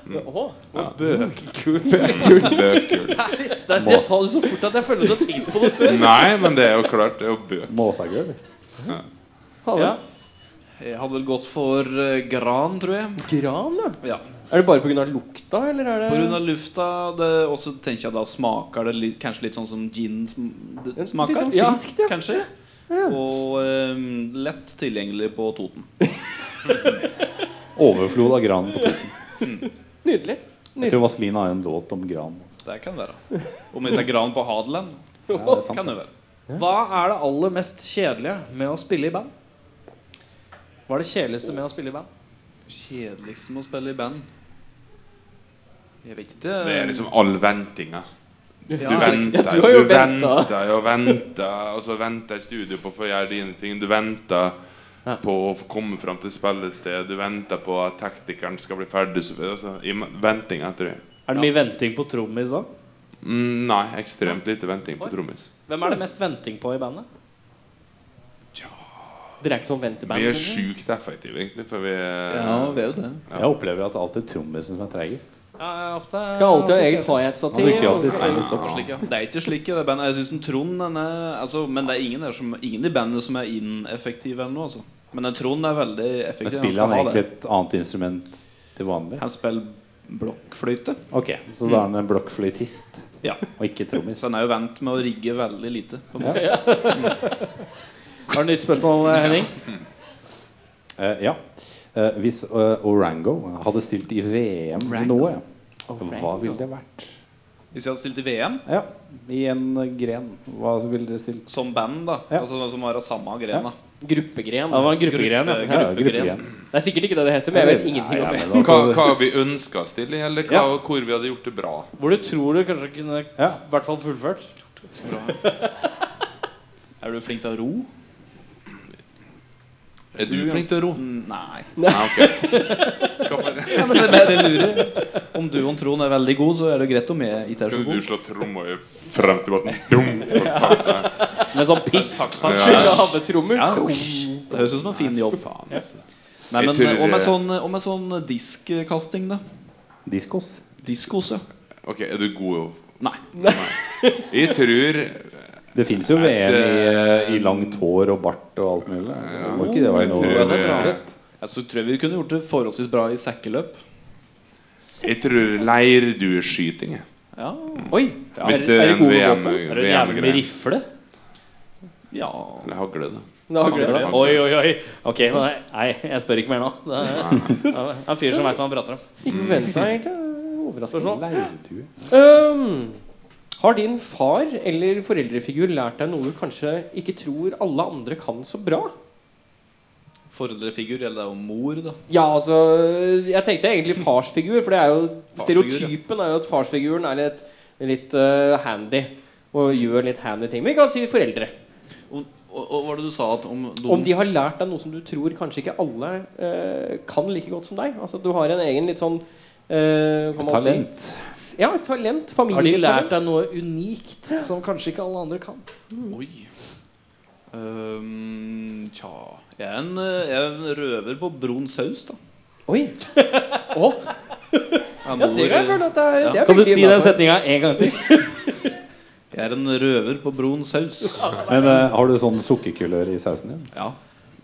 Bøkgull.
Bøkgull.
Det, det sa du så fort at jeg følte du hadde tenkt på det før.
Nei, men det er jo klart. Det er jo bøk.
Måsagulv.
Ja.
Jeg hadde vel gått for eh, gran, tror jeg.
Gran, da?
Ja.
Er det bare pga. lukta, eller er det
På grunn av lufta, det, og så tenker jeg da smaker det litt, kanskje litt sånn som gin sm- det
Litt
smaker.
sånn friskt,
ja.
ja.
Kanskje. Og ehm, lett tilgjengelig på Toten.
Overflod av gran. på toppen.
Nydelig.
Jeg tror Vazelina har en låt om gran.
Det kan være. Om det er gran på Hadeland,
Ja, det er sant.
kan det være.
Hva er det aller mest kjedelige med å spille i band? Hva er det kjedeligste med å spille i band?
Kjedeligst med å spille i band. Jeg vet ikke.
Det er liksom all ventinga. Du
Ja,
venter,
du har jo
du
ventet.
venter og venter, og så venter et studio på å få gjøre dine ting. Du venter på å få komme fram til spillestedet, du venter på at teknikeren skal bli ferdig. Så, altså, i ma- venting etter det.
Er det mye venting på trommis da?
Mm, nei, ekstremt lite venting på trommis.
Hvem er det mest venting på i bandet?
Dere er ikke sånn venteband?
Vi er
eller?
sjukt effektive, egentlig, for vi
Ja, vi er jo det.
Jeg opplever at det alltid er trommisen som er treigest.
Skal alltid ha eget hi-hat-stativ.
Han bruker alltid
og så-
seilen.
Det er ikke slik, ja. Det er ikke slik i det bandet. Jeg synes en Trond den er, altså, Men det er ingen, der som, ingen i bandet som er ineffektiv eller noe. Altså. Men en Trond er veldig effektiv.
Men
han
spiller
skal
han
ha
egentlig
det.
et annet instrument til vanlig?
Han spiller blokkfløyte.
Ok, Så da er han en blokkfløytist
Ja.
og ikke trommis.
Så han er jo vant med å rigge veldig lite. På en måte.
Har du nytt spørsmål, eh, Henning?
Eh, ja. Eh, hvis eh, Orango hadde stilt i VM med noe, hva ville det vært?
Hvis jeg hadde stilt i VM
Ja, I en eh, gren. Hva ville dere stilt?
som band, da
Ja.
Altså som var av samme grena.
Ja, det
Gruppegren.
var en gruppegreie.
Gruppe,
Ja,
gruppegren.
gruppegren.
Det er sikkert ikke det det heter, men jeg vet
Nei,
ingenting
ja,
om det.
men
Hva,
altså-
hva vi ønska oss til, eller hva, hvor vi hadde gjort det bra.
Hvor du tror du kanskje kunne i
Ja.
hvert fall fullført.
Er du flink til å ro?
Er du flink til å ro?
Mm, Nei.
Nei, ok. Hvorfor?
*laughs* Ja, men det er bare jeg lurer. Om du og Trond er veldig god, så er det greit om jeg ikke er så
Kunne du
god.
slå tromma i fremst i båten? Dum! Og takk til deg.
Med sånn piss.
Ja.
Havetrommer.
Ja, det høres ut som en fin jobb. Nei,
Jeg
men,
tror-
og, med sånn, og med sånn diskkasting, da?
Diskos.
Diskos, ja.
Ok, er du god?
Nei.
Jeg tror
Det fins jo
Et,
VM i, eh, i langt hår og bart og alt mulig. Det var ikke det var
Jeg
noe
tror, eh,
Jeg så tror jeg vi kunne gjort det forholdsvis bra i sekkeløp.
jeg tror leirdueskyting. jeg.
Ja.
Oi!
Hvis det er en VM
Er det en jævlig med
VM-greie.
rifle?
ja.
Eller hagle, da.
Da har jeg det.
Hagle.
Oi, oi, oi. Ok, nei, nei jeg spør ikke mer nå. Det er det er en fyr som veit hva han prater om.
Ikke forventa, egentlig. Overraskende.
Leirdue.
Um, har din far eller foreldrefigur lært deg noe du kanskje ikke tror alle andre kan så bra?
Foreldrefigur, eller det er jo mor, da.
Ja, altså Jeg tenkte egentlig farsfigur, for det er jo
Farsfigur, ja.
stereotypen er jo at farsfiguren er litt, litt eh, handy. Og gjør litt handy ting. Men vi kan si foreldre.
Og, og, og hva var det du sa at om,
Om de har lært deg noe som du tror kanskje ikke alle eh, kan like godt som deg. Altså Du har en egen litt sånn eh, kan man
Talent.
Si, ja, talent.
Har de lært
Familietalent.
deg noe unikt som kanskje ikke alle andre kan?
Oi. Ehm, tja jeg er, en, eh, jeg er en røver på brun saus, da.
Oi! Å, ja, det kan jeg føle at det er, det er
Kan du
veldig
si den
innenfor.
setninga en gang til?
Jeg er en røver på brun saus.
Men eh, har du sånn sukkerkulør i sausen din?
Ja,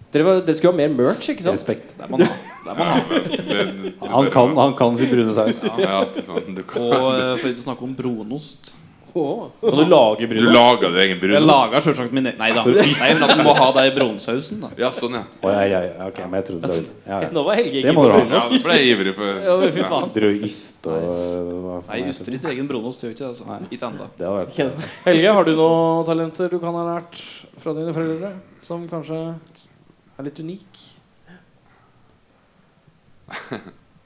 Dere, var, dere skulle ha mer merch, ikke sant?
Respekt.
det er man har. Det er man har.
Han kan, han kan sin brune saus.
Ja, fy faen. Du,
Og
kan.
eh, for ikke å snakke om brunost.
Å.
Kan du lage
du
brunost?
lager din egen
Jeg
brunost?
lager selvsagt min egen Nei da. Nei, men at man må ha det i brunsausen, da.
Ja, sånn, ja.
Å, ja, ja, ja, ok, men jeg trodde det var ja, ja.
Nå var Helge
Det
ikke
må
på
du ha.
ja da
brunost.
ble jeg ivrig for
Ja, men fy
ja.
faen.
Drøyst og hva faen
Nei,
er det?
Yster ikke egen brunost, gjør ikke det. altså Ikke enda
Det hadde vært
Helge, har du noen talenter du kan ha lært fra dine foreldre? Som kanskje er litt unik?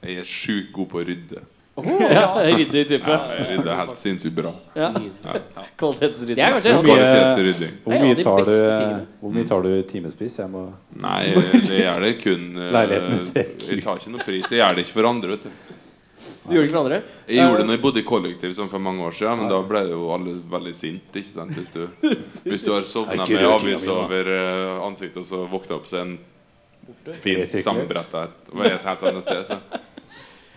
Jeg er sjukt god på å rydde.
Oh, Ja, *laughs* Ryddig type.
Ja, jeg rydder helt sinnssykt bra.
Ja. Kvalitetsryddig.
Det er kanskje
Hvor mye-
Kvalitetsrydding.
Hvor
Nei, ja,
mye
de
tar du,
beste tingene.
hvor mye tar du i timespris? Jeg må
Nei, det gjør det kun eh,
Leiligheten ser ikke
Jeg tar ikke noe pris. Jeg gjør det ikke for andre, vet du.
Du gjør det ikke for andre?
Jeg gjorde det når jeg bodde i kollektiv sånn for mange år siden, men da ble jo alle veldig sinte, ikke sant? Hvis du, hvis du har sovna
Det er ikke
med
rød
avis
tida mi, da.
over eh, ansiktet, og så våkna opp så er en fint
Resirkulert.
sammenbretta et, og er et helt annet sted, så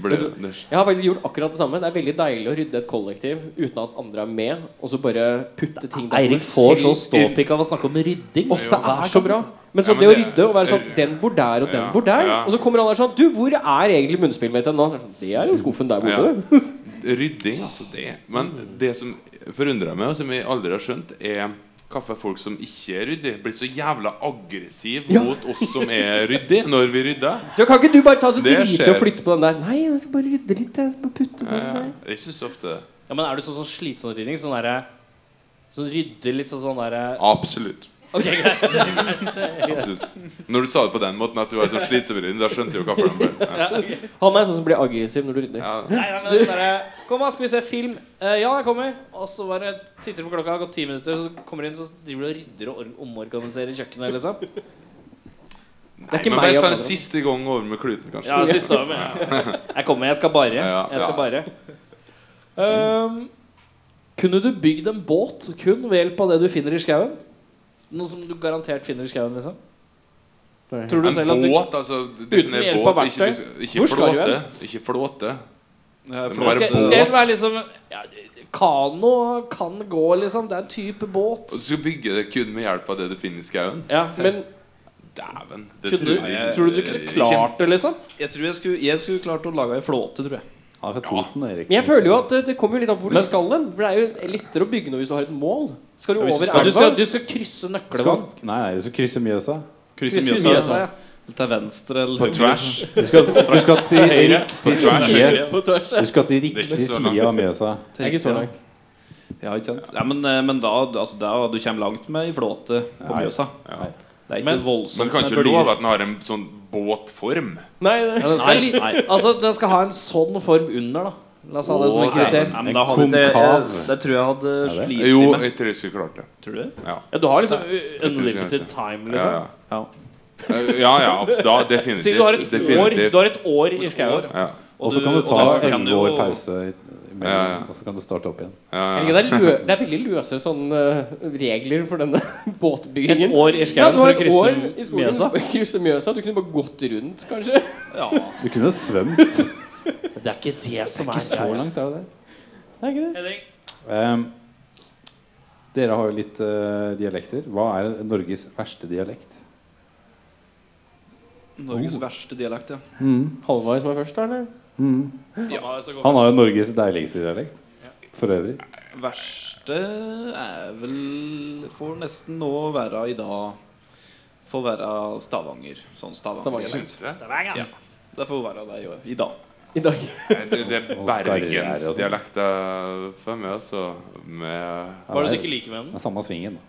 ble det, det
Jeg har faktisk gjort akkurat det samme. Det er veldig deilig å rydde et kollektiv uten at andre er med, og så bare putte ting der.
Eirik får så ståpikk av å snakke om rydding.
Åh, det er så bra. Men
Ja,
sånn
men
det å
det-
rydde og være sånn Den bor der, og den
Ja,
bor der.
ja.
Og så kommer han der sånn Du, hvor er egentlig munnspillet mitt hen nå? Så er jeg Sånn, det er i skuffen der borte. du.» *laughs*
Rydding, altså det Men det som forundrer meg, og som jeg aldri har skjønt, er hvorfor folk som ikke er ryddige, blir så jævla aggressiv mot oss som er ryddige, når vi rydder.
Du, kan ikke du bare ta så
Det
drite
skjer.
og flytte på den der? Nei, jeg skal bare rydde litt. Jeg skal bare putte på den
Ja,
der.
Eh, jeg syns ofte
Ja, men er du sånn, sånn slitsom rydding? Sånn derre Som rydder litt sånn sånn derre
Absolutt.
Ok, greit. *laughs*
Absolutt. Når du sa det på den måten, at du var så slitsom, i rydden, da skjønte jeg jo hvorfor de ble ja.
Han er sånn som blir aggressiv når du rydder.
Ja.
Nei, nei, men det er sånn derre, Kom, da, skal vi se film. Eh, ja, jeg kommer. Og så bare titter du på klokka, har gått ti minutter, så kommer du inn, så driver du og rydder og or- omorganiserer kjøkkenet, liksom.
Nei,
ikke
men
meg,
bare ta
Adrian.
en siste gang over med kluten, kanskje.
Ja, siste år, men ja. Jeg kommer, jeg skal bare.
Ja,
Jeg skal
ja.
bare. Ehm, kunne du bygd en båt kun ved hjelp av det du finner i skauen? Noe som du garantert finner i skauen, liksom?
Tror Tror du
En
selv at du
båt, altså definer
hjelp
båt,
av
Ikke,
verktøy.
ikke
Hvor skal du
flåte. Ikke flåte.
Ja,
Det
for
må være
Skal,
båt.
skal jeg være liksom ja, Kano kan gå, liksom. Det er en type båt.
Og du skal bygge det kun med hjelp av det du finner i skauen.
Ja, men
Dæven. Det
kunne du,
trodde jeg-
tror du du kunne klart det, liksom?
Jeg tror jeg skulle, jeg skulle klart å lage ei flåte, tror jeg.
Han er fra Toten, Erik.
Men jeg føler jo at eh, det, det kommer jo litt an på hvor du skal hen. For det er jo lettere å bygge noe hvis du har et mål. Skal du
hvis du
over
skal-
Du
elva?
skal, du skal krysse
Skal,
nøklevann.
nei, nei, du skal krysse Mjøsa.
Krysse
Krysse
Mjøsa.
Mjøsa, ja.
Til venstre eller
På tvers.
Du skal, du skal til riktig side.
På tvers. sånn,
Du skal til
er ikke
riktig
så langt.
side av Mjøsa.
Det er ikke så langt.
Ja, ikke sant? Ja, men, eh, men da, altså, da du kommer langt med i flåte på
Nei.
Mjøsa.
Nei.
Det er ikke
Men-
voldsomt
Men du kan
med
ikke
bølger.
love at den har en sånn båtform.
Nei, det-
Ja, den, skal, li- *laughs* altså, den skal ha en sånn form under, da. La oss ha det som
Å,
et
nei.
kriterium.
Nei, men
En
da hadde ikke jeg-
konkav.
Det tror jeg hadde
det?
slitt
Jo,
med.
jeg tror jeg skulle klart det.
Tror du det?
Ja, du har liksom
tror ikke
unlimited
det.
time,
Ja,
liksom.
ja. Eh,
Ja.
Ja, ja, da definitivt.
Siden du har et år,
definitivt.
du har et år i skauen.
Ja,
Og så kan du ta
og da kan du
elleve år
jo-
pause,
Ja, ja.
imellom, og så kan du starte opp igjen.
ja,
Det
ja.
er, lø, det er veldig løse sånne eh, regler for denne *laughs*
Et
båtbyggingen.
år i
Ja,
skauen
du har
for å
et år i
krysse
skogen
Mjøsa.
for å *laughs* krysse Mjøsa. Du kunne bare gått rundt, kanskje.
Ja.
Du kunne svømt.
Det er ikke det som er
Så
greia.
langt er det der.
Er ikke det?
Ehm, dere har jo litt eh, dialekter. Hva er Norges verste dialekt?
Norges verste dialekt, ja.
Halvard som er først, da? eller?
Han har jo Norges deiligste dialekt. For øvrig.
Verste er vel Får nesten nå være i dag Får være Stavanger. Sånn Stavanger.
Stavanger.
Syns du det?
Det får være det jo, i dag.
I dag.
Nei, Det, det er
Og skarriere og sånn.
bergensdialekta for meg, altså. Med,
Hva er det du ikke liker med den?
Det er samme svingen. da.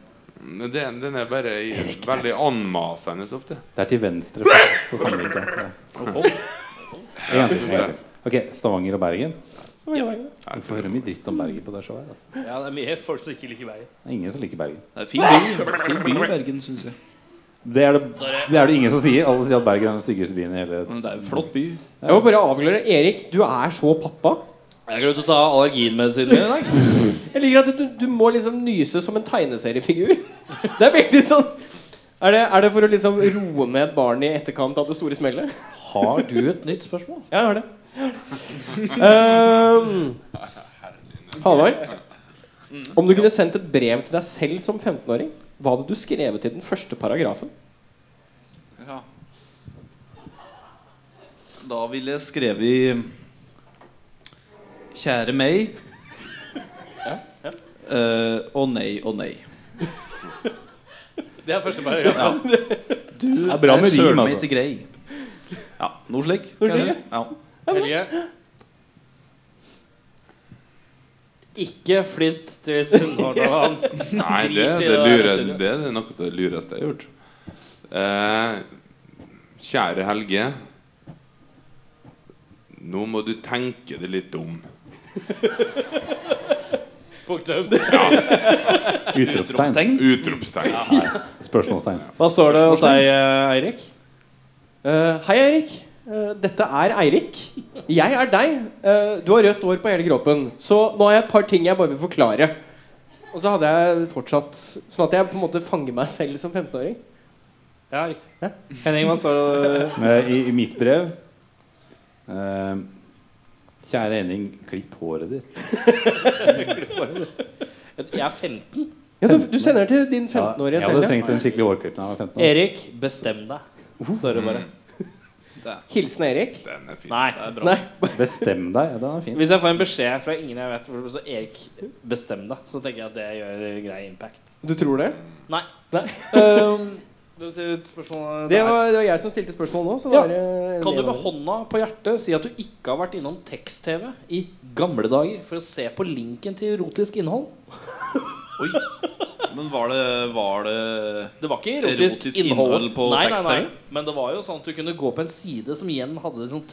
Men den, den er bare i, veldig anmasende så ofte.
Det er til venstre. For, for sammenligning. Ja. En gang til, en gang til. Ok, Stavanger og Bergen. Du får høre mye dritt om Bergen på det showet. her, Altså.
Ja, det er mye folk som ikke liker Bergen.
Det er ingen som liker Bergen.
Det er fin by, fin by Bergen, syns jeg.
Det er det, det er det ingen som sier. Alle sier at Bergen er den styggeste byen i hele
Men det er en flott by.
Jeg må bare avklare. Erik, du er så pappa.
Jeg glemte å ta allerginmedisinen min i dag.
Jeg liker at du, du må liksom nyse som en tegneseriefigur. *laughs* Det er veldig sånn er det, er det for å liksom roe ned barnet i etterkant av det store smellet?
Har du et nytt spørsmål?
Ja, jeg har det. Ehm, Halvard, om du kunne sendt et brev til deg selv som 15-åring, hva hadde du skrevet i den første paragrafen?
Ja. Da ville jeg skrevet Kjære meg. Eh, Å nei, å nei.
Det er første paragraf.
Du er
bra med rim,
søren meg
altså.
ikke grei. Ja, noe slik.
slik,
kanskje. Ja.
Helge. Ikke flytt til Sunnhordland. *laughs*
Nei,
Drit i
det, det,
det der,
lurer,
sier du.
det er noe av det lureste jeg har gjort. Eh, kjære Helge. Nå må du tenke deg litt om.
Punktum.
Utropstegn.
Utropstegn.
Utropstegn.
Spørsmålstegn.
Hva står det hos deg, eh, Eirik?
Eh, hei, Eirik. Eh, dette er Eirik. Jeg er deg. Eh, du har rødt hår på hele kroppen. Så nå har jeg et par ting jeg bare vil forklare. Og så hadde jeg fortsatt Sånn at jeg på en måte fanger meg selv som 15-åring.
Ja, riktig. Henning, hva står det?
Eh, I, I mitt brev eh, Kjære Henning, klipp håret ditt.
Jeg er 15.
Ja, du, du sender det til din
Ja,
15-årige
jeg
selv.
hadde
ja.
trengt en skikkelig hårklipp da jeg var 15. år.
Erik, bestem deg. Står det bare.
Hilsen Erik.
Den er fin.
Nei.
Nei.
Bestem deg. Ja, den er fin.
Hvis jeg får en beskjed fra ingen jeg vet, hvor det står Erik, bestem deg, så tenker jeg at det gjør grei impact.
Du tror det?
Nei.
Nei.
*laughs* Um, det ser ut spørsmålet
Det
der.
var, det var jeg som stilte spørsmål nå. Så
Ja.
da er det-
Kan du med hånda på hjertet si at du ikke har vært innom tekst-TV i gamle dager for å se på linken til erotisk innhold?
Oi. Men var det, var det
Det var ikke erotisk,
Erotisk
innhold.
innhold på
nei, nei, nei.
tekst-TV?
Men det var jo sånn at du kunne gå på en side som igjen hadde litt sånn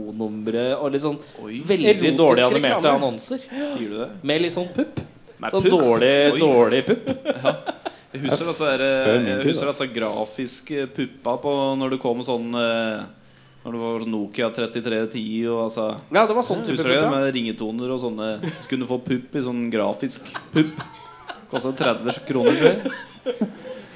telefonnumre og litt sånn
Oi,
veldig
Erotisk
dårlig animerte
reklame.
annonser.
sier du det?
Med litt sånn pupp.
Nei,
Sånn
pupp.
dårlig,
Oi.
dårlig
*laughs*
pupp.
Jeg husker altså, er,
Før min
jeg
tid,
husker altså grafiske puppa på når det kom sånn eh, Når det var Nokia 3310 og altså
Ja, det var sånn type
Husker
pupp.
du det
Ja.
med ringetoner og sånne Skulle du få pupp i sånn grafisk pupp? Kosta 30 kroner.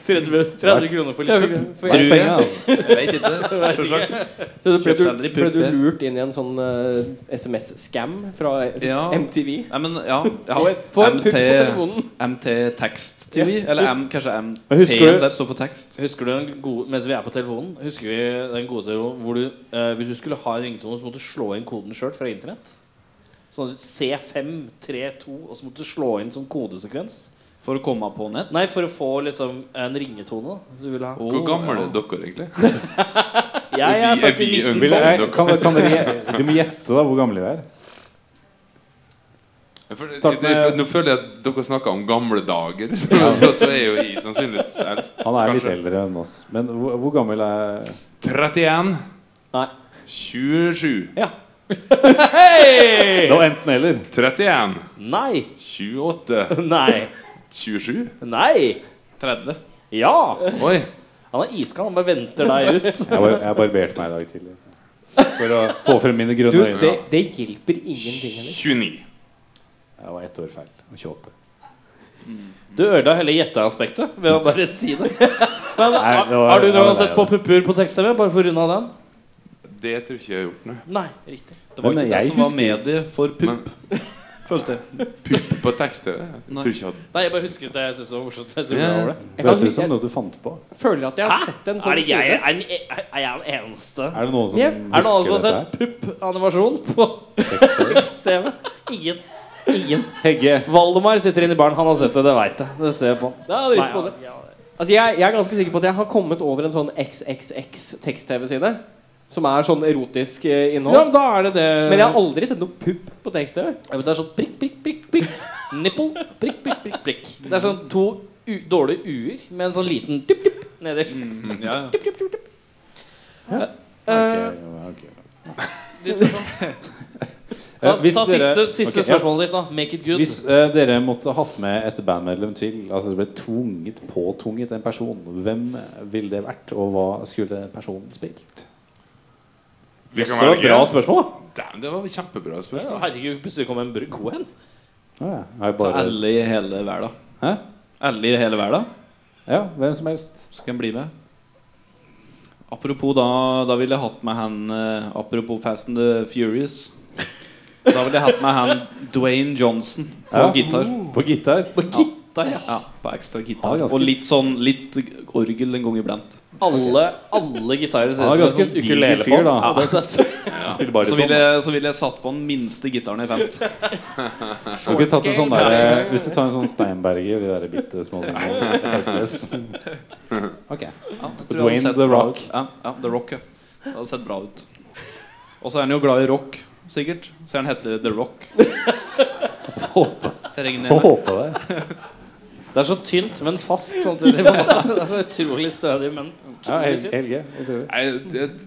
tror jeg.
30, 30 kroner for lite.
For
Tror
jeg,
jeg.
altså.
Jeg vet ikke. Selvsagt.
så det ble,
Kjøpte
du,
aldri
ble du
puppe.
lurt inn i en sånn eh, SMS-scam fra
Ja.
MTV?
Nei, men ja. ja.
Få et- få en
MT
pupp på telefonen!
MT Text TV. Eller M, kanskje MT.
Men husker du-
Der står for tekst.
Husker du den gode, Mens vi er på telefonen, husker vi den gode telefonen hvor du eh, Hvis du skulle ha en ringetone, så måtte du slå inn koden sjøl fra internett. Sånn C532, og så måtte du slå inn sånn kodesekvens.
For å komme på nett.
Nei, for å få liksom en ringetone du ville ha.
Hvor gamle er dere egentlig?
Jeg
Er
er
vi- er vi
49.
unge?
Vil jeg, kan, kan dere, gje- du må gjette da hvor gamle vi er.
For, det,
Start
det,
med-
for, nå føler jeg at dere snakker om gamle dager, så, så, *laughs* så er jo jeg sannsynligvis eldst.
Han er litt
Kanskje.
eldre enn oss. Men hvor, hvor gammel er
31.
Nei.
27.
Det var enten eller.
31.
Nei!
28.
Nei!
27.
Nei!
30.
Ja!
Oi.
Han er iskald. Han bare venter deg ut.
Jeg, bar, jeg barberte meg i dag tidlig. så. For å få frem mine
Du,
grønne øyne.
det, det hjelper ingenting. Henrik.
29.
Jeg var ett år feil. 28.
Du ødela hele gjetteaspektet ved å bare si det. Men
Nei,
har-
det var-
har du noen
det var
gang
deg,
sett på pupper på tekst-TV? Bare for å runde av den?
Det tror ikke jeg har gjort noe.
Nei, riktig.
Det
Men
var ikke det
jeg
som var
husker-
mediet for
Men
pupp, følte jeg.
pupp på tekst-TV? Jeg
Nei.
Tror ikke jeg hadde
Nei, jeg bare husket det. Jeg syntes det var morsomt. Jeg synes det var
Ja.
ålreit.
Jeg kan
Høres ut
si-
som noe du fant på.
Føler at jeg har sett en sånn
er, det jeg,
side.
er, den- e- er jeg den eneste?
Er det noen som
Ja.
Er det noen som har
husker
sett pupp-animasjon på tekst-TV? Ingen. Ingen.
Hegge.
Valdemar sitter inne i baren. Han har sett det, det veit jeg. Det ser jeg på.
Da hadde jeg lyst
Nei,
på
ja,
det. Altså, jeg, jeg er ganske sikker på at jeg har kommet over en sånn XXX tekst-TV-side. Som er sånn erotisk eh,
Ja, men
innhold.
da er det det.
Men jeg har aldri sett noe pupp på tekst-TV.
Ja, men det er sånn prikk, prikk, prikk, prikk. Nipple, prikk, prikk, prikk. prikk Det er sånn to u dårlige u-er med en sånn liten dupp, dupp nederst.
Ja, ja.
Eh,
Ok, ok.
sånn.
*laughs*
Ta,
Eh, hvis
ta
dere-
siste, siste
ok, ja.
spørsmålet ditt, da. Make it good.
Hvis eh, dere måtte hatt med et bandmedlem til, altså det ble tvunget, påtvunget en person, hvem ville det vært, og hva skulle personen spilt?
Vi kan
Så
velge.
bra spørsmål, da!
Damn, det var et kjempebra
Ja,
spørsmål.
Herregud, plutselig kom en br- god en.
Ja, ja. Er det
Så
bare,
alle i hele verden.
hæ?
Alle i hele verden
Ja, hvem som helst.
skal en bli med. Apropos da Da ville jeg hatt med han eh, Apropos Fast and the Furious. Da ville jeg hatt med han Dwayne Johnson på
Ja.
gitar.
På gitar.
Ja, på ekstra
Han
gitar.
er ganske
Og litt sånn litt orgel en gang iblant.
Alle, alle gitarer ser
Han er
ut som
ganske
en sånn
diger
ukulele på.
fyr, da.
Ja, det er søtt.
Spiller bare
Så
sånn.
ville, jeg- så ville jeg satt på den minste gitaren
*laughs*
jeg fant.
Du kunne tatt en sånn der, hvis du tar en sånn Steinberger, de der bitte små tingene. Ok.
Ja, jeg tror jeg hadde
Dwayne
sett
The
bra
Rock.
ut. Ja, ja, The Rock, ja. Det hadde sett bra ut. Og så er han jo glad i rock, sikkert. Så han heter The Rock.
*laughs* Håper
Jeg regner med.
håper det.
Det er så tynt, men fast samtidig. *laughs* på en måte. Det er så utrolig stødig, men
Ja, Hel- Helge, hva sier du?
Nei, det-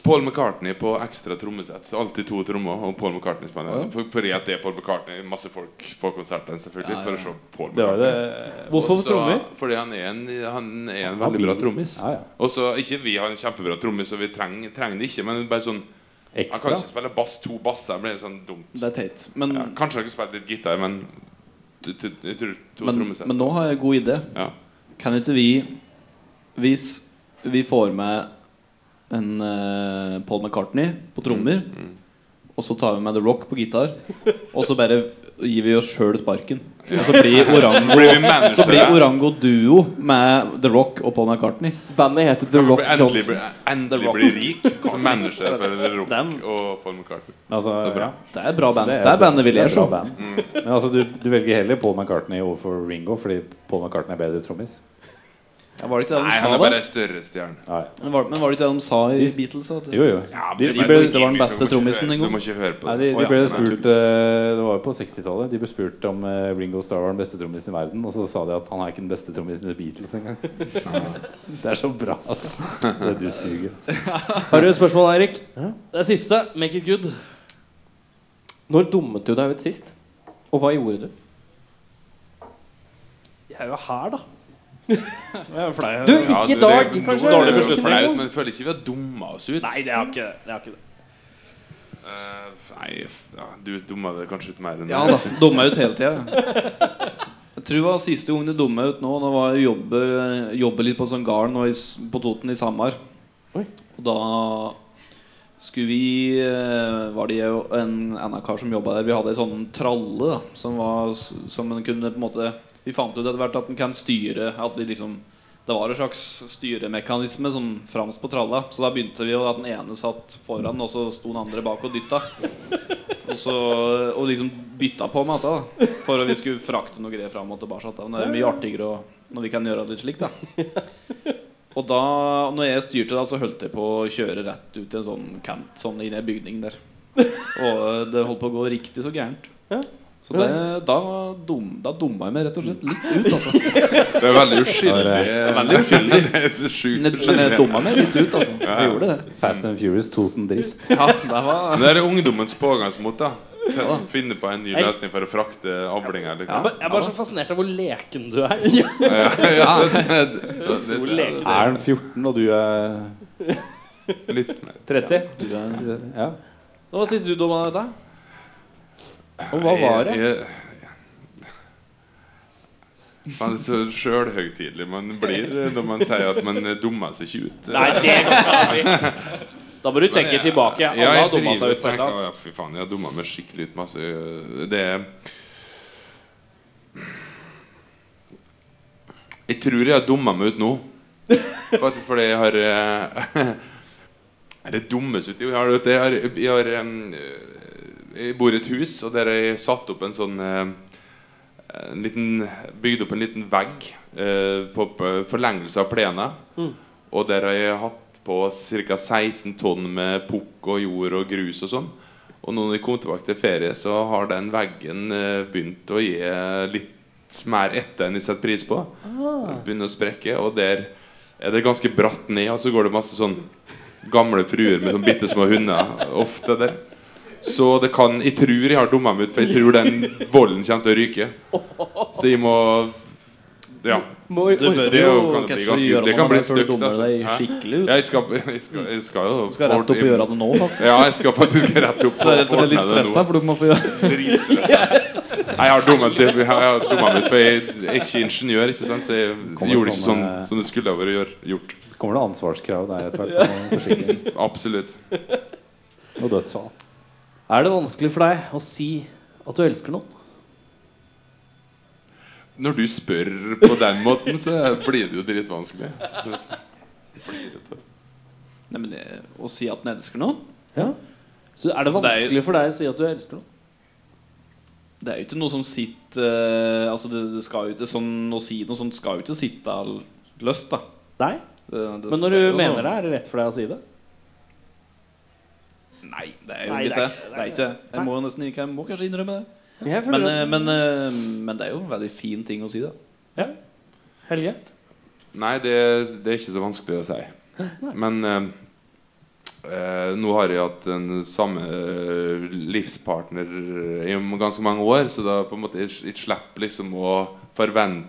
Paul McCartney på ekstra trommesett. Så Alltid to trommer. Og Paul McCartney spiller. For, fordi at det er Paul McCartney. Masse folk på konserten, selvfølgelig. For å se Paul
Det var jo
McCartney.
det.
Også- Fordi han er en, han er en veldig bra trommis.
Ja, ja.
Og så Ikke vi har en kjempebra trommis, og vi trenger, trenger det ikke, men bare sånn Han kan
Ekstra.
ikke spille bass to basser. Det blir sånn dumt.
Det er teit. Men,
Ja, kanskje han kan spille litt gitar, men t- t- jeg tror to
men,
trommesett.
men nå har jeg en god idé.
Ja.
Kan ikke vi Hvis vi får med en eh, Paul McCartney
Mm,
på trommer, og så tar vi med The Rock på gitar, og så bare gir vi oss sjøl sparken. Og så blir Orango,
Blir vi
*laughs*
managere?
så blir Orango duo med The Rock og Paul McCartney.
Bandet heter The
Blir
Rock
Endelig,
Johnson.
blir- endelig blir rik som manager for The Rock og Paul McCartney.
Altså,
Så bra. Mm.
ja.
Det er bra band. Det er, bandet vil jeg
det er
se.
bra band. Men altså, du, du velger heller Paul McCartney overfor Ringo fordi Paul McCartney er bedre trommis?
Ja, Var det ikke det de
Nei, han
sa,
er
da?
bare større stjerne.
Ja, ja.
Men var, men var det ikke det de sa i Beatles? At
Jo, jo.
Ja,
De,
men
de
er
ble,
ikke
bare sånn
var den
gimmick,
beste
du må ikke
trommissen
høre-
engang.
Du må ikke høre på
nei,
det.
de, de ble
Å, ja.
spurt eh, Det var jo på 60-tallet. De ble spurt om eh, Ringo Starr var den beste trommisen i verden, og så sa de at han er ikke den beste trommisen i The Beatles engang. *laughs* Det er så bra. Det du suger. ass.
Har du et spørsmål, Eirik? Det er siste. Make it good.
Når dummet du deg ut sist? Og hva gjorde du?
Jeg er jo
*laughs*
her, da. Jeg er flau.
Du, ikke i
det-
dag,
det-
kanskje?
Dårlig
Ikke i dag.
beslutning. Flaut, men jeg føler ikke vi har dumma oss ut.
Nei, det har ikke det. Har ikke det.
Eh, nei f- ja, du dumma det kanskje ut mer enn
Ja da. Dummer ut hele tida. Jeg tror det var siste gang det dumma ut nå. Da var jeg jobbe, jobbe litt på sånn garn nå i, s- på Toten i Samar. Og da skulle vi eh, Var det jeg og en annen kar som jobba der. Vi hadde ei sånn tralle da som, var, s- som en kunne på en måte Vi fant ut etter hvert at den kan styre At vi liksom Det var en slags styremekanisme sånn frams på tralla. Så da begynte vi jo at den ene satt foran, og så sto den andre bak og dytta. Og, så, og liksom bytta på med dette, da. For at vi skulle frakte noe greier fram og tilbake. Da. Men det er mye artigere å, når vi kan gjøre det litt slik, da. Og da når jeg styrte, da, så holdt jeg på å kjøre rett ut i en sånn kant sånn inn i en bygning der. Og det holdt på å gå riktig så gærent. Så det, da, dum, da dumma jeg meg rett og slett litt ut, altså.
Det er veldig uskyldig.
veldig uskyldig.
Det er sjukt
Men men *laughs* jeg
uskyldig.
dumma meg litt ut, altså. Jeg gjorde det.
Fast and Furious, Toten Drift.
Ja, det var
Men det er ungdommens pågangsmot, da. Til å finne på en ny løsning for å frakte avlinger. eller
Jeg
hva?
er bare- jeg er bare så fascinert av hvor leken du er.
*laughs* Ja, så det- det-
Hvor
det-
leken du er.
Er han 14, og du er
Litt mer.
30.
Ja.
Nå var sist du dumma deg ut,
Og hva var det?
Jeg- jeg- Man er så sjølhøytidelig man blir når man sier at man dummer seg ikke ut.
Nei, det går ikke an å si. Da må du tenke tilbake. Alle
jeg
har dumma
driver
seg
og
ut. på et
tenker,
eller
«Å, Ja,
annet.
fy faen, jeg har dumma meg skikkelig ut masse øh, Det er Jeg tror jeg har dumma meg ut nå. Faktisk fordi jeg har øh, *laughs* Er det dummeste ut? Jo, jeg har, det, jeg har, jeg, har øhm, øh, jeg bor i et hus, og der har jeg satt opp en sånn øh, en liten, Bygd opp en liten vegg øh, på, på forlengelse av plenen. Og der har jeg hatt på ca. 16 tonn med pukk og jord og grus og sånn. Og nå når jeg kom tilbake til ferie, så har den veggen eh, begynt å gi litt mer etter enn jeg setter pris på. Den Begynner å sprekke, og der er det ganske bratt ned, og så går det masse sånn gamle fruer med sånn bitte små hunder ofte der. Så det kan Jeg tror jeg har dumma meg ut, for jeg tror den volden kommer til å ryke. Så jeg må Ja.
Må-
Du bør
Det er
jo
jo- kan bli
kanskje
ganske-
gjøre
det
noe
kan
med
bli
det før du
stygt,
dummer
altså.
deg
Hæ?
skikkelig ut.
Jeg skal, jeg skal, jeg skal jo
Du skal rett opp og gjøre det nå, faktisk.
Ja, jeg skal faktisk rett opp
Du er rett og slett litt stressa, for du må få gjøre
Dritstressa. Nei, jeg har dummet det- jeg har dummet meg ut, for jeg er ikke ingeniør, ikke sant? så jeg
Kommer
gjorde ikke
sånn,
sånn
eh,
som det skulle ha vært gjør- gjort.
*laughs* Kommer det ansvarskrav der etter hvert? på forsikring?
Absolutt.
Og dødsfall.
Er det vanskelig for deg å si at du elsker noen?
Når du spør på den måten, så blir det jo dritvanskelig. Så- Blir det tøft.
Nei, men eh, Å si at den elsker noen?
Så er det
Altså, det er jo-
vanskelig for deg å si at du elsker noen?
Det er jo ikke noe som sitter eh, Altså det, det skal jo ikke sånn, Å si noe sånt skal jo ikke sitte all løst, da.
Nei,
Det, det,
men når
det er
du
jo
mener det,
noe-
er det lett for deg å si det?
Nei, det er jo
Nei, det
ikke det.
er ikke-
Det er ikke det. Jeg må jo nesten ikke Jeg må kanskje innrømme det.
Jeg føler
Men,
at-
eh, men, eh, men det er jo en veldig fin ting å si, da.
Helge?
Nei, det, det er ikke så vanskelig å si. Men eh, eh, nå har jeg hatt den samme eh, livspartner i m- ganske mange år, så da på en måte jeg, s- jeg slipper liksom å forvente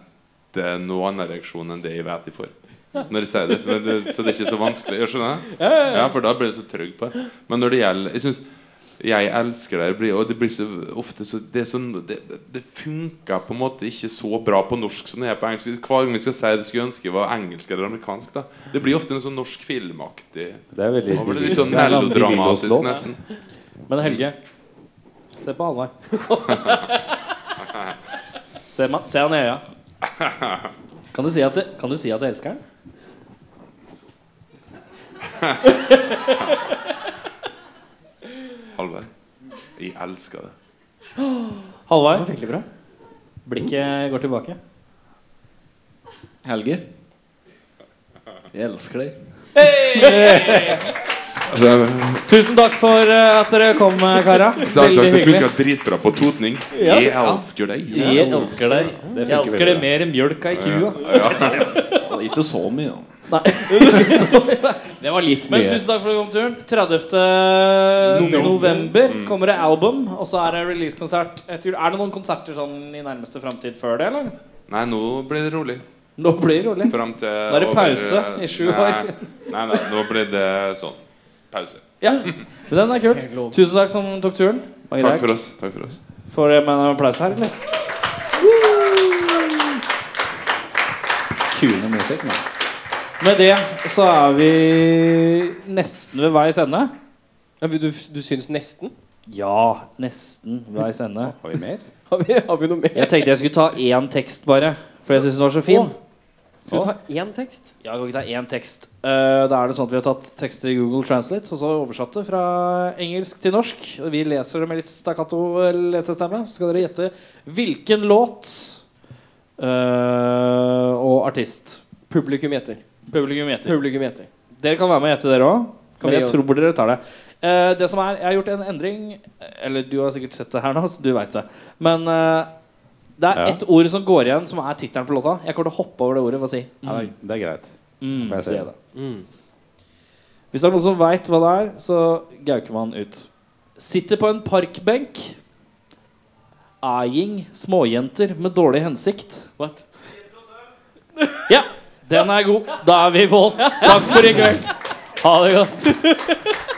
noen annen reaksjon enn det jeg vet jeg får. Når jeg sier det, for det, så det er ikke så vanskelig. Jeg skjønner det? Ja, for da blir du så trygg på det. Men når det gjelder Jeg synes, jeg elsker deg blir- Og det blir så ofte så Det, er sånn, det, det- det funker på en måte ikke så bra på norsk som det er på engelsk. Hver gang vi skal si det, skulle jeg ønske det var engelsk eller amerikansk. Da. Det blir ofte en sånn norsk filmaktig
Det er veldig
Da blir det Litt sånn
Det er en annen
melodramatisk,
Billy Boss-låt.
nesten.
Men Helge, se på *laughs* Halvard. se, ma- se han i øya. Kan du si at, det, kan du si at jeg elsker han?
Halvard. Jeg elsker det.
Halvard,
Veldig bra.
blikket går tilbake.
Helge. Jeg elsker deg.
Altså,
Tusen takk for eh, at dere kom, eh, kara.
takk,
Veldig
takk, det
hyggelig.
funka dritbra på totning.
Ja.
Jeg elsker deg.
Jeg elsker deg. Jeg elsker deg mer enn mjølka i kua.
Og Ikke så mye, da.
Det var litt Men
mye.
tusen takk for at du kom turen. 30. november kommer det album, og så er det releasekonsert etter jul. Er det noen konserter sånn i nærmeste framtid før det, eller?
Nei, nå blir det rolig.
Nå blir det rolig.
Fram til
er det pause i sju år.
Nei, nei, nei, nå blir det sånn. Pause.
Ja, men den er kul. Tusen takk som tok turen.
Takk for oss. Takk for oss.
Får jeg meg en applaus her, eller?
Tune musikk, mann.
Med det så er vi nesten ved veis ende.
Ja, du, du syns nesten?
Ja, nesten veis ende.
Har vi mer?
Har vi, har vi noe mer?
Jeg tenkte jeg skulle ta én tekst, bare. For jeg syns den var så fin.
Skal vi ta én tekst?
Ja, jeg kan ikke ta én tekst. Eh, da er det sånn at Vi har tatt tekster i Google Translate og så oversatt det fra engelsk til norsk. Og Vi leser det med litt stakkato eh, lesestemme. Så skal dere gjette hvilken låt eh, og artist
Publikum gjetter.
publikum gjetter.
Publikum gjetter.
Dere kan være med og gjette, dere òg.
Kan
Men
vi
jeg
gjøre-
tror dere tar det. Eh, det som er, Jeg har gjort en endring. Eller du har sikkert sett det her nå, så du veit det. Men eh, det er
Ja.
ett ord som går igjen, som er tittelen på låta. Jeg kommer til å hoppe over det ordet. Hva si?
Ja, det er- det er greit.
Mm,
Får jeg se
sier jeg
det?
da. Hvis det er noen som veit hva det er, så gauker man ut. Sitter på en parkbenk. Eing småjenter med dårlig hensikt. What? Ja, den er god. Da er vi i mål. Takk for i kveld. Ha det godt.